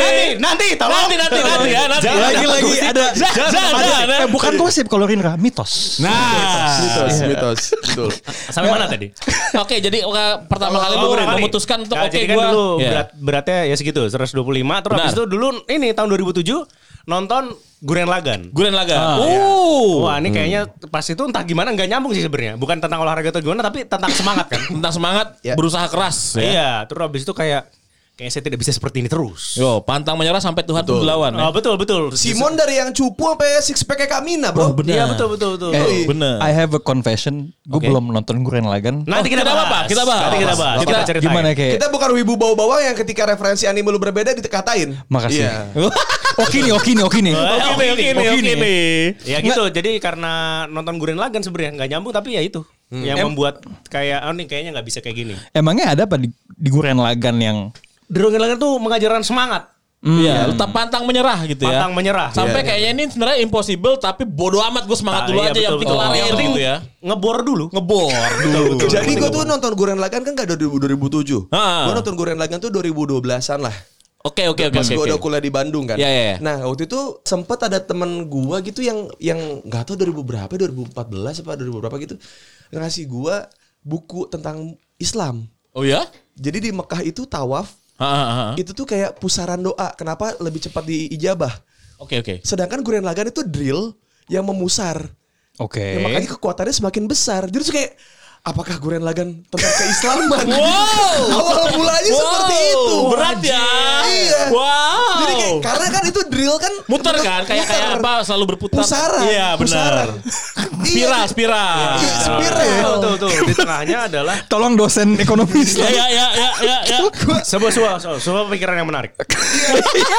Speaker 7: Nanti, nanti, tolong.
Speaker 5: Nanti nanti nanti ya nanti.
Speaker 1: lagi-lagi ada
Speaker 5: Jangan, jangan,
Speaker 1: ada-
Speaker 5: jangan.
Speaker 1: eh, bukan gosip kalau Rinra mitos.
Speaker 5: Nah.
Speaker 6: mitos, mitos. Betul.
Speaker 7: Sampai mana tadi?
Speaker 5: Oke, jadi eh, pertama kali lu
Speaker 7: Oh, berapa nih?
Speaker 5: memutuskan untuk
Speaker 7: Nah,
Speaker 5: oke
Speaker 7: jadi kan
Speaker 5: gua.
Speaker 7: dulu
Speaker 5: Iya.
Speaker 7: berat beratnya ya segitu 125 terus
Speaker 5: Benar.
Speaker 7: habis itu dulu ini tahun 2007 nonton Guren Lagan. iya.
Speaker 5: Gulen laga.
Speaker 1: Ah,
Speaker 5: Uh.
Speaker 7: Wah, ini kayaknya pas itu entah gimana nggak nyambung sih sebenarnya. Bukan tentang olahraga atau gimana tapi tentang semangat kan.
Speaker 5: Tentang semangat
Speaker 6: Ya.
Speaker 5: berusaha keras ya.
Speaker 7: Iya, terus habis itu kayak kayak saya tidak bisa seperti ini terus.
Speaker 5: Yo, pantang menyerah sampai Tuhan pun
Speaker 6: Betul.
Speaker 5: berlawan. ya.
Speaker 7: Oh, betul betul.
Speaker 6: Simon dari yang cupu sampai six pack Kamina,
Speaker 5: Oh,
Speaker 6: bro.
Speaker 7: Iya, betul betul betul.
Speaker 1: Eh,
Speaker 5: Bener.
Speaker 1: I have a confession. Gue
Speaker 5: Oke.
Speaker 1: belum nonton Guren Lagan.
Speaker 7: Nanti
Speaker 5: Oh,
Speaker 7: kita,
Speaker 5: kita
Speaker 7: bahas.
Speaker 5: apa? Kita bahas.
Speaker 7: Nanti kita bahas.
Speaker 5: Kita-
Speaker 7: ceritain.
Speaker 1: Gimana kayak?
Speaker 6: Kita bukan wibu bau bawang yang ketika referensi anime lu berbeda dikatain.
Speaker 1: Makasih.
Speaker 6: Iya.
Speaker 1: Oke nih, oke nih, oke nih.
Speaker 7: Eh,
Speaker 5: Oke nih, oke nih, oke nih.
Speaker 7: Ya gitu, jadi karena nonton Guren Lagan sebenarnya nggak nyambung tapi ya itu yang membuat kayak oh nih kayaknya nggak bisa kayak gini.
Speaker 1: Emangnya ada apa di, di Guren Lagan yang
Speaker 7: Guren Lagan tuh mengajarkan semangat,
Speaker 5: Iya, tetap pantang menyerah gitu ya.
Speaker 7: pantang menyerah.
Speaker 5: Sampai kayaknya ini sebenarnya impossible tapi bodoh amat gue semangat
Speaker 7: Ah,
Speaker 5: dulu
Speaker 7: iya,
Speaker 5: aja yang
Speaker 7: betul,
Speaker 5: penting
Speaker 7: betul.
Speaker 5: kelarin
Speaker 7: Yang penting
Speaker 5: gitu ya.
Speaker 7: ngebor dulu.
Speaker 5: Ngebor dulu.
Speaker 6: Jadi gue tuh nonton Guren Lagan kan gak dari 2007.
Speaker 5: Ah.
Speaker 6: Gue nonton Guren Lagan tuh 2012-an lah.
Speaker 5: Oke oke oke
Speaker 6: Pas
Speaker 5: oke,
Speaker 6: gue
Speaker 5: oke.
Speaker 6: udah kuliah di Bandung kan.
Speaker 5: Iya, iya, iya.
Speaker 6: Nah waktu itu sempet ada temen gua gitu yang yang nggak tahu 2000 berapa, 2014 apa 2000 berapa gitu ngasih gua buku tentang Islam.
Speaker 5: Oh ya?
Speaker 6: Jadi di Mekah itu tawaf
Speaker 5: Ha, ha, ha.
Speaker 6: itu tuh kayak pusaran doa. Kenapa lebih cepat diijabah?
Speaker 5: Oke oke.
Speaker 6: Sedangkan Guren Lagan itu drill yang memusar.
Speaker 1: Oke.
Speaker 6: Ya, makanya kekuatannya semakin besar. Jadi tuh kayak apakah Guren Lagan tentang keislaman?
Speaker 5: Wow.
Speaker 6: Awal mulanya
Speaker 5: Wow,
Speaker 6: seperti itu.
Speaker 5: Berat ya.
Speaker 6: Iya.
Speaker 5: Wow.
Speaker 6: Jadi kayak karena kan itu drill kan
Speaker 5: muter kan kayak
Speaker 6: muter.
Speaker 5: kayak apa selalu berputar.
Speaker 6: Pusaran.
Speaker 5: Iya benar.
Speaker 6: Pusaran.
Speaker 5: Spiral spiral.
Speaker 6: Iya,
Speaker 7: Ah,
Speaker 6: spiral.
Speaker 7: Tuh, tuh, tuh. Di tengahnya adalah
Speaker 1: Tolong dosen ekonomi
Speaker 5: Ya
Speaker 1: Islam.
Speaker 5: ya ya ya ya. ya.
Speaker 7: sebuah, sebuah, sebuah, sebuah pikiran yang menarik.
Speaker 6: Iya.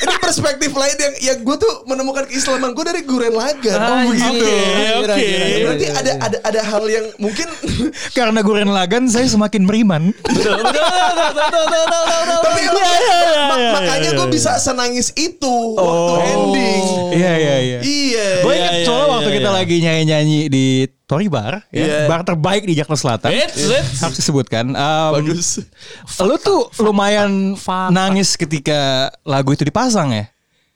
Speaker 6: Ini perspektif lain yang yang gue tuh menemukan keislaman gue dari Guren Lagan.
Speaker 5: Oh, begitu. Oke oke.
Speaker 6: Berarti ada ada ada hal yang mungkin
Speaker 1: Karena Guren Lagan saya semakin meriman.
Speaker 5: Betul betul betul betul betul, betul, betul.
Speaker 6: tapi
Speaker 5: Iya,
Speaker 6: makanya-
Speaker 5: iya, iya,
Speaker 6: mak-
Speaker 5: iya,
Speaker 6: makanya
Speaker 5: iya,
Speaker 6: gue
Speaker 5: iya.
Speaker 6: bisa senangis itu waktu ending.
Speaker 1: Iya iya iya.
Speaker 6: Oh. Iya.
Speaker 1: Gue
Speaker 5: Iya,
Speaker 1: inget
Speaker 5: iya,
Speaker 1: soalnya
Speaker 5: iya,
Speaker 1: waktu kita
Speaker 5: iya.
Speaker 1: lagi nyanyi-nyanyi di Tory Bar, ya,
Speaker 6: Iya.
Speaker 1: bar terbaik di Jakarta Selatan.
Speaker 7: Eh.
Speaker 5: Eits, eits.
Speaker 7: Iya.
Speaker 1: Harus disebutkan. Um,
Speaker 6: Bagus.
Speaker 1: Lu tuh lumayan nangis ketika lagu itu dipasang ya.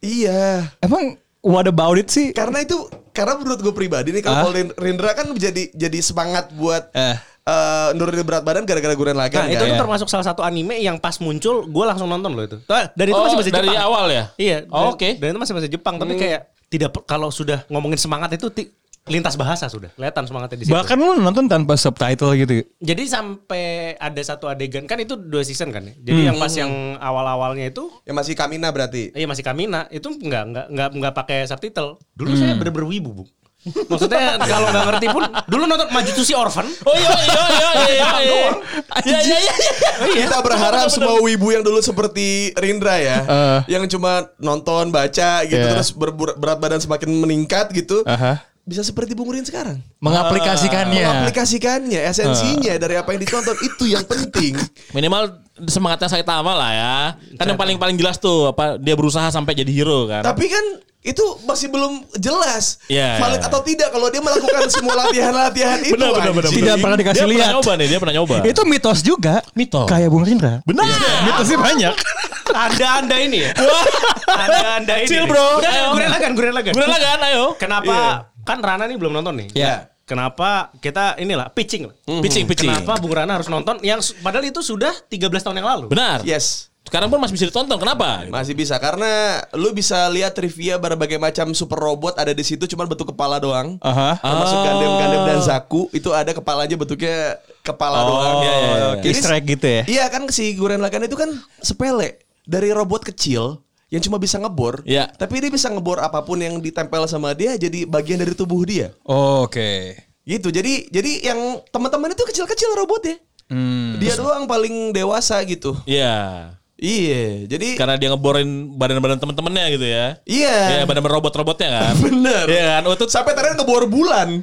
Speaker 6: Iya.
Speaker 1: Emang what about it sih?
Speaker 6: Karena itu karena menurut gue pribadi
Speaker 1: Ah?
Speaker 6: nih kalau Paul Rin- Rindra kan jadi jadi semangat buat
Speaker 1: Eh.
Speaker 6: eh nurunin berat badan gara-gara Guren Lagan
Speaker 7: Nah, itu
Speaker 6: kan.
Speaker 7: tuh
Speaker 1: Iya.
Speaker 7: termasuk salah satu anime yang pas muncul, gue langsung nonton loh itu. Tuh, Dan itu
Speaker 5: Oh,
Speaker 7: masih bahasa
Speaker 5: dari
Speaker 7: Jepang.
Speaker 5: awal ya?
Speaker 7: Iya.
Speaker 5: Oh,
Speaker 7: dan-
Speaker 5: oke.
Speaker 7: Dan itu masih bahasa Jepang, tapi kayak tidak per- kalau sudah ngomongin semangat itu ti- lintas bahasa sudah. Kelihatan semangatnya di situ.
Speaker 1: Bahkan lu nonton tanpa subtitle gitu.
Speaker 7: Jadi sampai ada satu adegan kan itu dua season kan ya. Jadi yang pas yang awal-awalnya itu
Speaker 6: Ya masih Kamina berarti.
Speaker 7: Iya masih Kamina itu nggak nggak nggak nggak pakai subtitle. Dulu saya bener-bener wibu bu. Maksudnya kalau nggak ngerti pun dulu nonton Majutusi Orphan.
Speaker 5: Oh iya iya iya iya iya. Iya iya iya.
Speaker 6: Kita berharap semua wibu yang dulu seperti Rindra ya,
Speaker 5: Eh.
Speaker 6: yang cuma nonton, baca gitu
Speaker 1: Iya.
Speaker 6: terus ber- ber- berat badan semakin meningkat gitu.
Speaker 5: Eh.
Speaker 1: Aha.
Speaker 6: Bisa seperti Bung Rin sekarang.
Speaker 5: Iya.
Speaker 1: Mengaplikasikannya.
Speaker 6: Aplikasikannya, esensinya dari apa yang ditonton itu yang penting.
Speaker 5: Minimal semangatnya Saitama lah ya. Kan yang paling paling jelas tuh apa dia berusaha sampai jadi hero kan.
Speaker 6: Tapi kan itu masih belum jelas
Speaker 5: Iya.
Speaker 6: valid atau tidak kalau dia melakukan semua latihan-latihan itu.
Speaker 5: Benar, benar, benar,
Speaker 6: anjing.
Speaker 1: Tidak pernah dikasih
Speaker 5: dia
Speaker 1: lihat.
Speaker 5: pernah nyoba nih, dia pernah nyoba.
Speaker 1: Itu mitos juga.
Speaker 5: Mitos.
Speaker 1: Kayak Bung Rindra.
Speaker 5: benar.
Speaker 6: Iya.
Speaker 1: Mitosnya banyak.
Speaker 7: Anda anda ini ya. Anda anda ini.
Speaker 5: Chill, bro.
Speaker 7: Udah,
Speaker 5: Ayo.
Speaker 7: gurelagan gurelagan.
Speaker 5: Benar lah kan, ayo.
Speaker 7: Kenapa kan Rana nih belum nonton nih?
Speaker 1: Iya.
Speaker 7: Kenapa kita inilah pitching lah.
Speaker 5: Pitching, pitching.
Speaker 7: Kenapa Bung Rana harus nonton yang su- padahal itu sudah 13 tahun yang lalu.
Speaker 5: Benar.
Speaker 6: Yes.
Speaker 5: Sekarang pun masih bisa ditonton. Kenapa?
Speaker 6: Masih bisa karena lu bisa lihat trivia berbagai macam super robot ada di situ cuman bentuk kepala doang.
Speaker 1: Aha.
Speaker 6: Termasuk
Speaker 5: Ah.
Speaker 6: Gundam Gundam dan Zaku itu ada kepalanya bentuknya kepala
Speaker 5: Oh,
Speaker 6: doang.
Speaker 5: iya, iya, iya.
Speaker 6: Jadi-
Speaker 1: Easter egg gitu ya?
Speaker 6: Iya kan si Guren Lagan itu kan sepele dari robot kecil yang cuma bisa ngebor,
Speaker 5: Iya.
Speaker 6: tapi dia bisa ngebor apapun yang ditempel sama dia jadi bagian dari tubuh dia.
Speaker 1: Oke.
Speaker 6: Gitu. Jadi jadi yang teman-teman itu kecil-kecil robotnya.
Speaker 1: Hmm.
Speaker 6: Dia doang paling dewasa gitu.
Speaker 5: Iya.
Speaker 6: Iya. Jadi
Speaker 5: Karena dia ngeborin badan-badan temen-temennya gitu ya.
Speaker 6: iya.
Speaker 5: Iya, badan-badan robot-robotnya kan.
Speaker 6: Bener.
Speaker 5: Iya kan? Utut
Speaker 6: Sampai terakhir ngebor bulan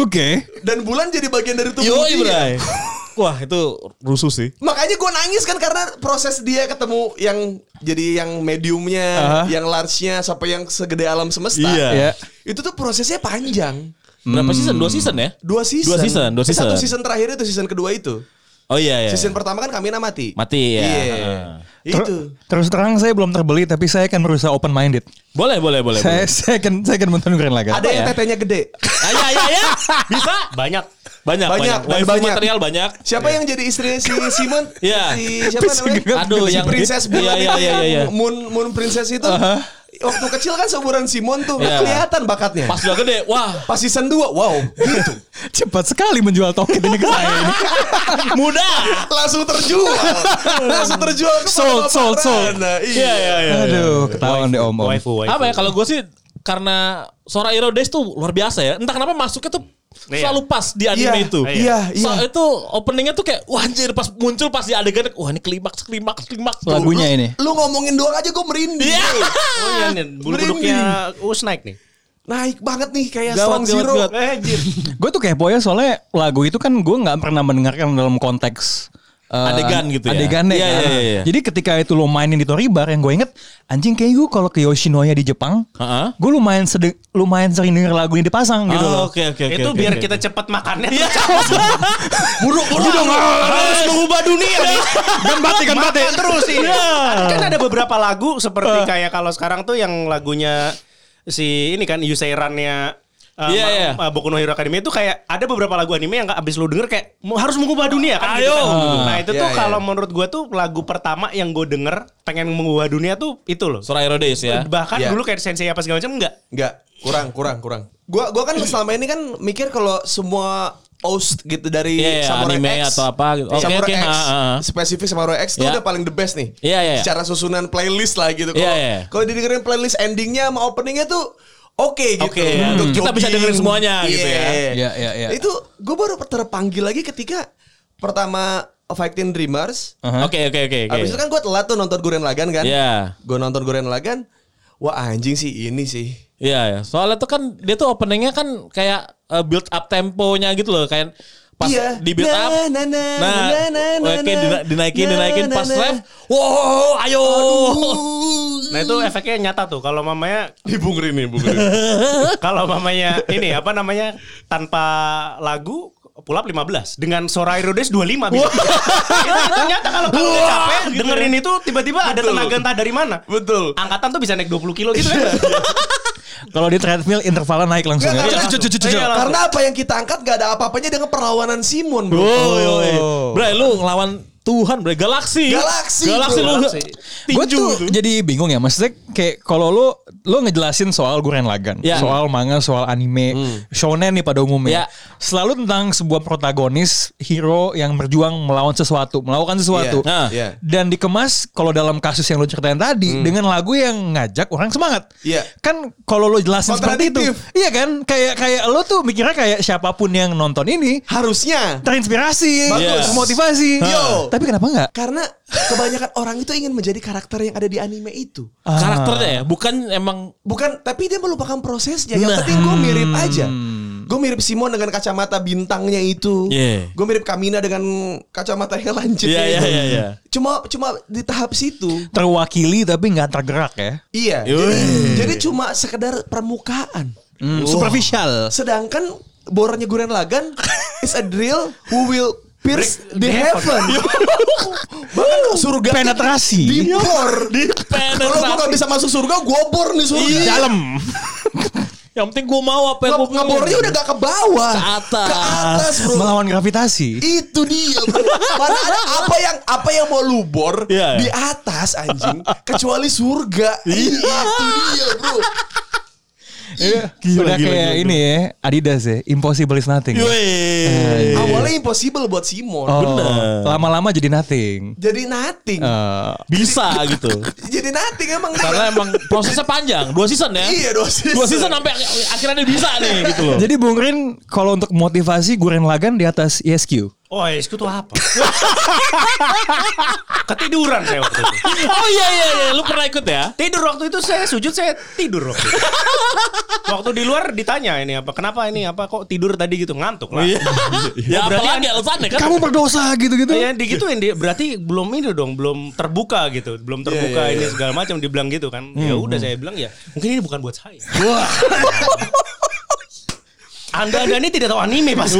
Speaker 1: Oke.
Speaker 6: dan bulan jadi bagian dari tubuh
Speaker 5: Yoi,
Speaker 6: dia.
Speaker 5: Bray. ya. Wah, itu rusuh sih.
Speaker 6: Makanya gue nangis kan karena proses dia ketemu yang jadi yang mediumnya,
Speaker 1: Aha.
Speaker 6: yang large-nya sampai yang segede alam semesta.
Speaker 1: Iya.
Speaker 6: Itu tuh prosesnya panjang.
Speaker 5: Berapa season? Dua season ya?
Speaker 6: Dua season.
Speaker 5: Dua season, dua
Speaker 6: Eh, Satu
Speaker 5: season.
Speaker 6: season terakhir itu season kedua itu.
Speaker 5: Oh iya iya.
Speaker 6: Season pertama kan Kamina mati.
Speaker 5: Mati ya.
Speaker 6: Iya.
Speaker 1: Ter-
Speaker 6: Itu.
Speaker 1: Terus terang saya belum terbeli tapi saya akan berusaha open minded.
Speaker 5: Boleh, boleh, Iya, boleh.
Speaker 1: Saya saya akan saya akan menonton Guren Lagan.
Speaker 6: Ada yang
Speaker 5: ya?
Speaker 6: tetenya gede.
Speaker 5: boleh. Ah, iya, iya, iya. Bisa?
Speaker 7: Banyak.
Speaker 5: Banyak,
Speaker 6: Banyak,
Speaker 5: banyak.
Speaker 6: dan
Speaker 5: Waifu
Speaker 6: banyak.
Speaker 5: material banyak.
Speaker 6: Siapa yang jadi istrinya si Simon?
Speaker 5: Iya.
Speaker 6: Si siapa namanya?
Speaker 5: Aduh,
Speaker 6: si
Speaker 5: yang
Speaker 6: princess
Speaker 5: iya,
Speaker 6: bulan
Speaker 5: iya,
Speaker 6: itu
Speaker 5: iya,
Speaker 6: yang
Speaker 5: iya.
Speaker 6: Moon Moon Princess itu. Waktu kecil kan seumuran Simon tuh
Speaker 5: Iya.
Speaker 6: kelihatan bakatnya.
Speaker 5: Pas udah gede, wah.
Speaker 6: Pas season 2, wow, gitu.
Speaker 1: Cepat sekali menjual token ini ke saya ini.
Speaker 5: Muda.
Speaker 6: Langsung terjual. Langsung terjual ke
Speaker 1: Sold, sold, sold.
Speaker 6: Nah, iya.
Speaker 5: Iya, iya, iya.
Speaker 1: Aduh, ketahuan deh om om.
Speaker 7: Waifu, waifu.
Speaker 5: Apa ya kalau gue sih karena Sora Hero Days tuh luar biasa ya. Entah kenapa masuknya tuh
Speaker 7: Iya.
Speaker 5: selalu pas di anime
Speaker 6: Iya,
Speaker 5: itu.
Speaker 6: iya, iya.
Speaker 5: So, itu openingnya tuh kayak wah anjir pas muncul pas di adegan wah ini klimaks klimaks klimaks tuh.
Speaker 1: Lagunya ini.
Speaker 6: Lu ngomongin doang aja gue merinding.
Speaker 5: Iya.
Speaker 7: Oh iya nih, bulu kuduknya us naik nih.
Speaker 6: Naik banget nih kayak
Speaker 5: Gawat,
Speaker 6: Strong
Speaker 5: gawat,
Speaker 6: Oh, Zero.
Speaker 5: gawat.
Speaker 7: Eh, anjir.
Speaker 1: Gue tuh kepo ya soalnya lagu itu kan gue nggak pernah mendengarkan dalam konteks eh,
Speaker 5: Adegan gitu ya?
Speaker 1: Adegannya
Speaker 5: Iya,
Speaker 1: kan.
Speaker 5: iya, iya, iya.
Speaker 1: Jadi ketika itu lo mainin di Toribar yang gue inget anjing kayak gue kalau ke Yoshinoya di Jepang,
Speaker 5: Ha-ha.
Speaker 1: gue lumayan sedeng, lumayan sering denger lagu ini dipasang gitu
Speaker 5: Oh,
Speaker 1: loh.
Speaker 5: Oke oke oke.
Speaker 7: itu
Speaker 5: oke,
Speaker 7: biar
Speaker 5: oke.
Speaker 7: kita cepet makannya. Iya.
Speaker 5: buruk buruk dong. Harus mengubah dunia nih.
Speaker 7: Kan batik kan batik. terus sih.
Speaker 6: Iya.
Speaker 7: Kan ada beberapa lagu
Speaker 6: Eh.
Speaker 7: seperti kayak kalau sekarang tuh yang lagunya si ini kan Yuseirannya Uh,
Speaker 5: Iya,
Speaker 7: Ma-
Speaker 5: iya.
Speaker 7: uh, Boku no Hero Academy itu kayak ada beberapa lagu anime yang abis lu denger kayak "Mu- harus mengubah dunia kan gitu
Speaker 5: Ayo.
Speaker 7: kan. Nah itu
Speaker 6: Iya,
Speaker 7: tuh
Speaker 6: iya.
Speaker 7: kalau menurut gua tuh lagu pertama yang gue denger pengen mengubah dunia tuh itu loh.
Speaker 5: Soraya Rodes ya.
Speaker 7: Bahkan
Speaker 6: Iya.
Speaker 7: dulu kayak sensei apa segala macam enggak.
Speaker 6: Enggak, kurang, kurang, kurang. Gua gua kan selama ini kan mikir kalau semua host gitu dari
Speaker 5: Iya, iya,
Speaker 6: Samurai
Speaker 5: anime
Speaker 6: X
Speaker 5: atau apa gitu. Oke,
Speaker 6: Samurai
Speaker 5: oke,
Speaker 6: X,
Speaker 5: ha, ha, ha.
Speaker 6: spesifik Samurai X itu
Speaker 5: Iya.
Speaker 6: udah paling the best nih.
Speaker 5: Iya, iya.
Speaker 6: Secara susunan playlist lah gitu. Kalau
Speaker 5: Iya, iya.
Speaker 6: kalau didengerin playlist endingnya sama openingnya tuh oke gitu.
Speaker 5: Oke, ya.
Speaker 6: Untuk
Speaker 5: Kita bisa dengerin semuanya gitu ya.
Speaker 1: Iya, iya, iya.
Speaker 6: Itu gue baru terpanggil lagi ketika pertama Fighting Dreamers.
Speaker 5: Oke oke oke oke.
Speaker 6: Abis itu kan gue telat tuh nonton Guren Lagan kan.
Speaker 5: Iya.
Speaker 6: Gue nonton Guren Lagan. Wah anjing sih ini sih.
Speaker 5: Iya, ya. soalnya tuh kan dia tuh openingnya kan kayak eh, build up temponya gitu loh, kayak pas
Speaker 6: Iya.
Speaker 5: di build
Speaker 6: Na,
Speaker 5: up,
Speaker 6: na, na,
Speaker 5: nah,
Speaker 6: na, na, na,
Speaker 5: oke, dina- dinaikin,
Speaker 6: na,
Speaker 5: dinaikin,
Speaker 6: na,
Speaker 5: pas
Speaker 6: na.
Speaker 5: ref, wow, ayo,
Speaker 7: Nah itu efeknya nyata tuh kalau mamanya
Speaker 6: Dibungri nih, bungri.
Speaker 7: kalau mamanya ini apa namanya tanpa lagu pulap 15 dengan Sorai Rodes 25 bisa. itu, itu nyata kalau kamu udah capek dengerin itu tiba-tiba ada tenaga entah dari mana.
Speaker 6: gitu ya. Betul. Iya.
Speaker 7: Angkatan tuh bisa naik 20 kilo gitu kan.
Speaker 1: Kalau di treadmill intervalnya naik langsung.
Speaker 6: Nggak,
Speaker 1: ya.
Speaker 6: nggak,
Speaker 1: Cucu, cucu, cucu.
Speaker 7: Iya, langsung.
Speaker 6: Karena apa yang kita angkat gak ada apa-apanya dengan perlawanan Simon, bro.
Speaker 5: oh, yo, yo. Bray, lu ngelawan Tuhan, bray, galaksi,
Speaker 6: Galaksi,
Speaker 5: galaksi
Speaker 6: bro.
Speaker 5: lu,
Speaker 7: Galaksi.
Speaker 5: tinju
Speaker 1: Gue
Speaker 5: gitu.
Speaker 1: tuh
Speaker 5: tuh.
Speaker 1: jadi bingung ya Maksudnya kayak Kalau lu Lu ngejelasin soal Guren Lagan
Speaker 5: Ya.
Speaker 1: Soal manga Soal anime Shonen nih pada
Speaker 5: Ya.
Speaker 1: umumnya Selalu tentang sebuah protagonis Hero yang berjuang Melawan sesuatu Melakukan sesuatu
Speaker 5: Nah.
Speaker 6: Iya.
Speaker 1: Dan dikemas Kalau dalam kasus yang lu ceritain tadi Dengan lagu yang ngajak orang semangat
Speaker 6: Hmm. Iya.
Speaker 1: Kan kalau lu jelasin seperti itu
Speaker 6: Kontradiktif.
Speaker 1: Iya kan Kayak kayak lu tuh mikirnya kayak Siapapun yang nonton ini
Speaker 6: Harusnya.
Speaker 1: Terinspirasi
Speaker 5: Bagus.
Speaker 1: Termotivasi
Speaker 6: Yo.
Speaker 1: Tapi kenapa enggak
Speaker 6: Karena kebanyakan orang itu ingin menjadi karakter yang ada di anime itu.
Speaker 1: ah,
Speaker 5: karakternya ya, bukan emang
Speaker 6: Bukan, tapi dia melupakan prosesnya. Yang
Speaker 5: Nah.
Speaker 6: penting gue mirip aja.
Speaker 5: Hmm.
Speaker 6: Gue mirip Simon dengan kacamata bintangnya itu.
Speaker 5: Iya.
Speaker 6: Gue mirip Kamina dengan kacamata yang lancip
Speaker 5: Iya, iya, iya, iya.
Speaker 6: Cuma cuma di tahap situ.
Speaker 1: Terwakili tapi nggak tergerak ya
Speaker 6: Iya. Jadi, jadi cuma sekedar permukaan.
Speaker 1: Superficial.
Speaker 6: Sedangkan bornya Guren Lagan is a drill who will pierce the heaven. Bahkan surga
Speaker 1: Penetrasi.
Speaker 6: dibor. Kalau gue gak bisa masuk surga, gue bor nih surga.
Speaker 1: Dalam.
Speaker 5: Iya. yang penting gue mau apa yang
Speaker 6: Nge-
Speaker 5: gue pengen.
Speaker 6: Ngebornya udah gak ke bawah.
Speaker 5: Ke atas.
Speaker 6: Ke atas, bro.
Speaker 1: Melawan gravitasi.
Speaker 6: itu dia bro. mana ada apa yang apa yang mau lu bor
Speaker 5: Iya, iya.
Speaker 6: di atas anjing kecuali surga itu dia bro
Speaker 5: Iya.
Speaker 6: Iya.
Speaker 1: Udah kayak ini ya, Adidas ya, impossible is nothing.
Speaker 6: Iya,
Speaker 1: ya.
Speaker 5: Yoi.
Speaker 6: awalnya impossible buat Simon
Speaker 1: Oh,
Speaker 5: Bener.
Speaker 1: Lama-lama jadi nothing.
Speaker 6: jadi nothing
Speaker 1: Eh,
Speaker 5: bisa gitu.
Speaker 6: jadi nothing emang
Speaker 5: Karena emang prosesnya panjang, dua season ya.
Speaker 6: Iya, dua season.
Speaker 5: Dua season sampai akhirnya dia bisa nih gitu loh.
Speaker 1: jadi Bung Rin kalau untuk motivasi Guren Lagan di atas E ESQ.
Speaker 7: Oh, itu tuh apa? Ketiduran saya waktu itu.
Speaker 5: Oh iya iya iya, lu pernah ikut ya?
Speaker 7: Tidur waktu itu saya sujud saya tidur waktu itu. Waktu di luar ditanya ini apa kenapa ini apa kok tidur tadi gitu ngantuk lah.
Speaker 6: Iya.
Speaker 5: ya apalagi alasannya kan.
Speaker 1: Kamu berdosa gitu-gitu.
Speaker 7: Ya digituin dia berarti belum ini dong, belum terbuka gitu, belum
Speaker 6: Iya,
Speaker 7: terbuka ini segala macam dibilang gitu kan. Ya
Speaker 6: Hmm,
Speaker 7: udah saya bilang ya, mungkin ini bukan buat saya. Anda Anda ini tidak tahu anime Mas.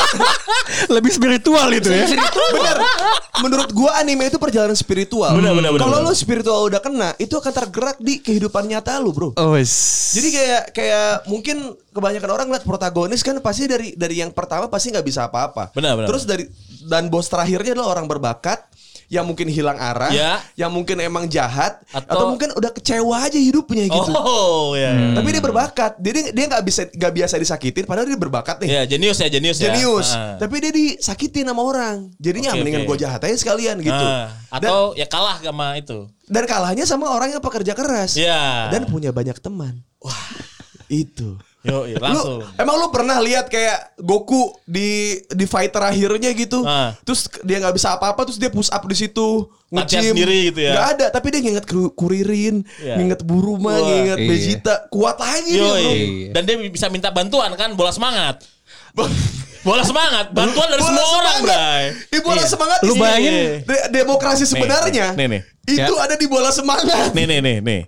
Speaker 1: Lebih spiritual itu ya.
Speaker 6: bener menurut gua anime itu perjalanan spiritual
Speaker 5: Bener, bener, bener,
Speaker 6: kalau
Speaker 5: bener.
Speaker 6: lu spiritual udah kena itu akan tergerak di kehidupan nyata lu bro
Speaker 1: Oh,
Speaker 6: Jadi kayak kayak mungkin kebanyakan orang lihat protagonis kan pasti dari dari yang pertama pasti nggak bisa apa-apa.
Speaker 5: Benar, benar.
Speaker 6: Terus dari dan bos terakhirnya adalah orang berbakat yang mungkin hilang arah,
Speaker 5: Ya.
Speaker 6: yang mungkin emang jahat atau,
Speaker 5: Atau-
Speaker 6: mungkin udah kecewa aja hidupnya gitu.
Speaker 5: Oh iya. iya.
Speaker 6: Tapi dia berbakat. Dia dia nggak bisa nggak biasa disakitin padahal dia berbakat nih.
Speaker 5: Ya jenius ya jenius ya.
Speaker 6: Jenius,
Speaker 5: Ah.
Speaker 6: tapi dia disakitin sama orang. Jadinya
Speaker 5: Oke,
Speaker 6: mendingan
Speaker 5: oke.
Speaker 6: gue jahat aja sekalian gitu.
Speaker 5: Ah.
Speaker 6: dan,
Speaker 5: Atau ya kalah sama itu.
Speaker 6: dan kalahnya sama orang yang pekerja keras.
Speaker 5: Iya.
Speaker 6: Dan punya banyak teman. Wah, itu.
Speaker 5: Yo langsung.
Speaker 6: Lu, emang lu pernah lihat kayak Goku di di fight terakhirnya gitu.
Speaker 5: Ah.
Speaker 6: Terus dia nggak bisa apa-apa terus dia push up di situ,
Speaker 5: Latihan
Speaker 6: nge-gym.
Speaker 5: sendiri gitu ya.
Speaker 6: Nggak ada, tapi dia nginget Kru- Kuririn,
Speaker 5: Iya.
Speaker 6: nginget
Speaker 5: Wah.
Speaker 6: Buruma, nginget
Speaker 1: Iya.
Speaker 6: Vegeta, kuat lagi dia,
Speaker 5: Yo,
Speaker 7: Iya.
Speaker 6: bro.
Speaker 5: dan dia bisa minta bantuan kan bola semangat. Bola semangat, bantuan dari
Speaker 6: Bola
Speaker 5: semua orang,
Speaker 6: semangat.
Speaker 5: Bray.
Speaker 6: Di bola
Speaker 5: Iya.
Speaker 6: semangat
Speaker 5: Lu
Speaker 6: isi.
Speaker 5: bayangin.
Speaker 6: De- demokrasi sebenarnya.
Speaker 5: nih, Ya. nih.
Speaker 6: Itu ada di bola semangat.
Speaker 5: Nih nih nih nih.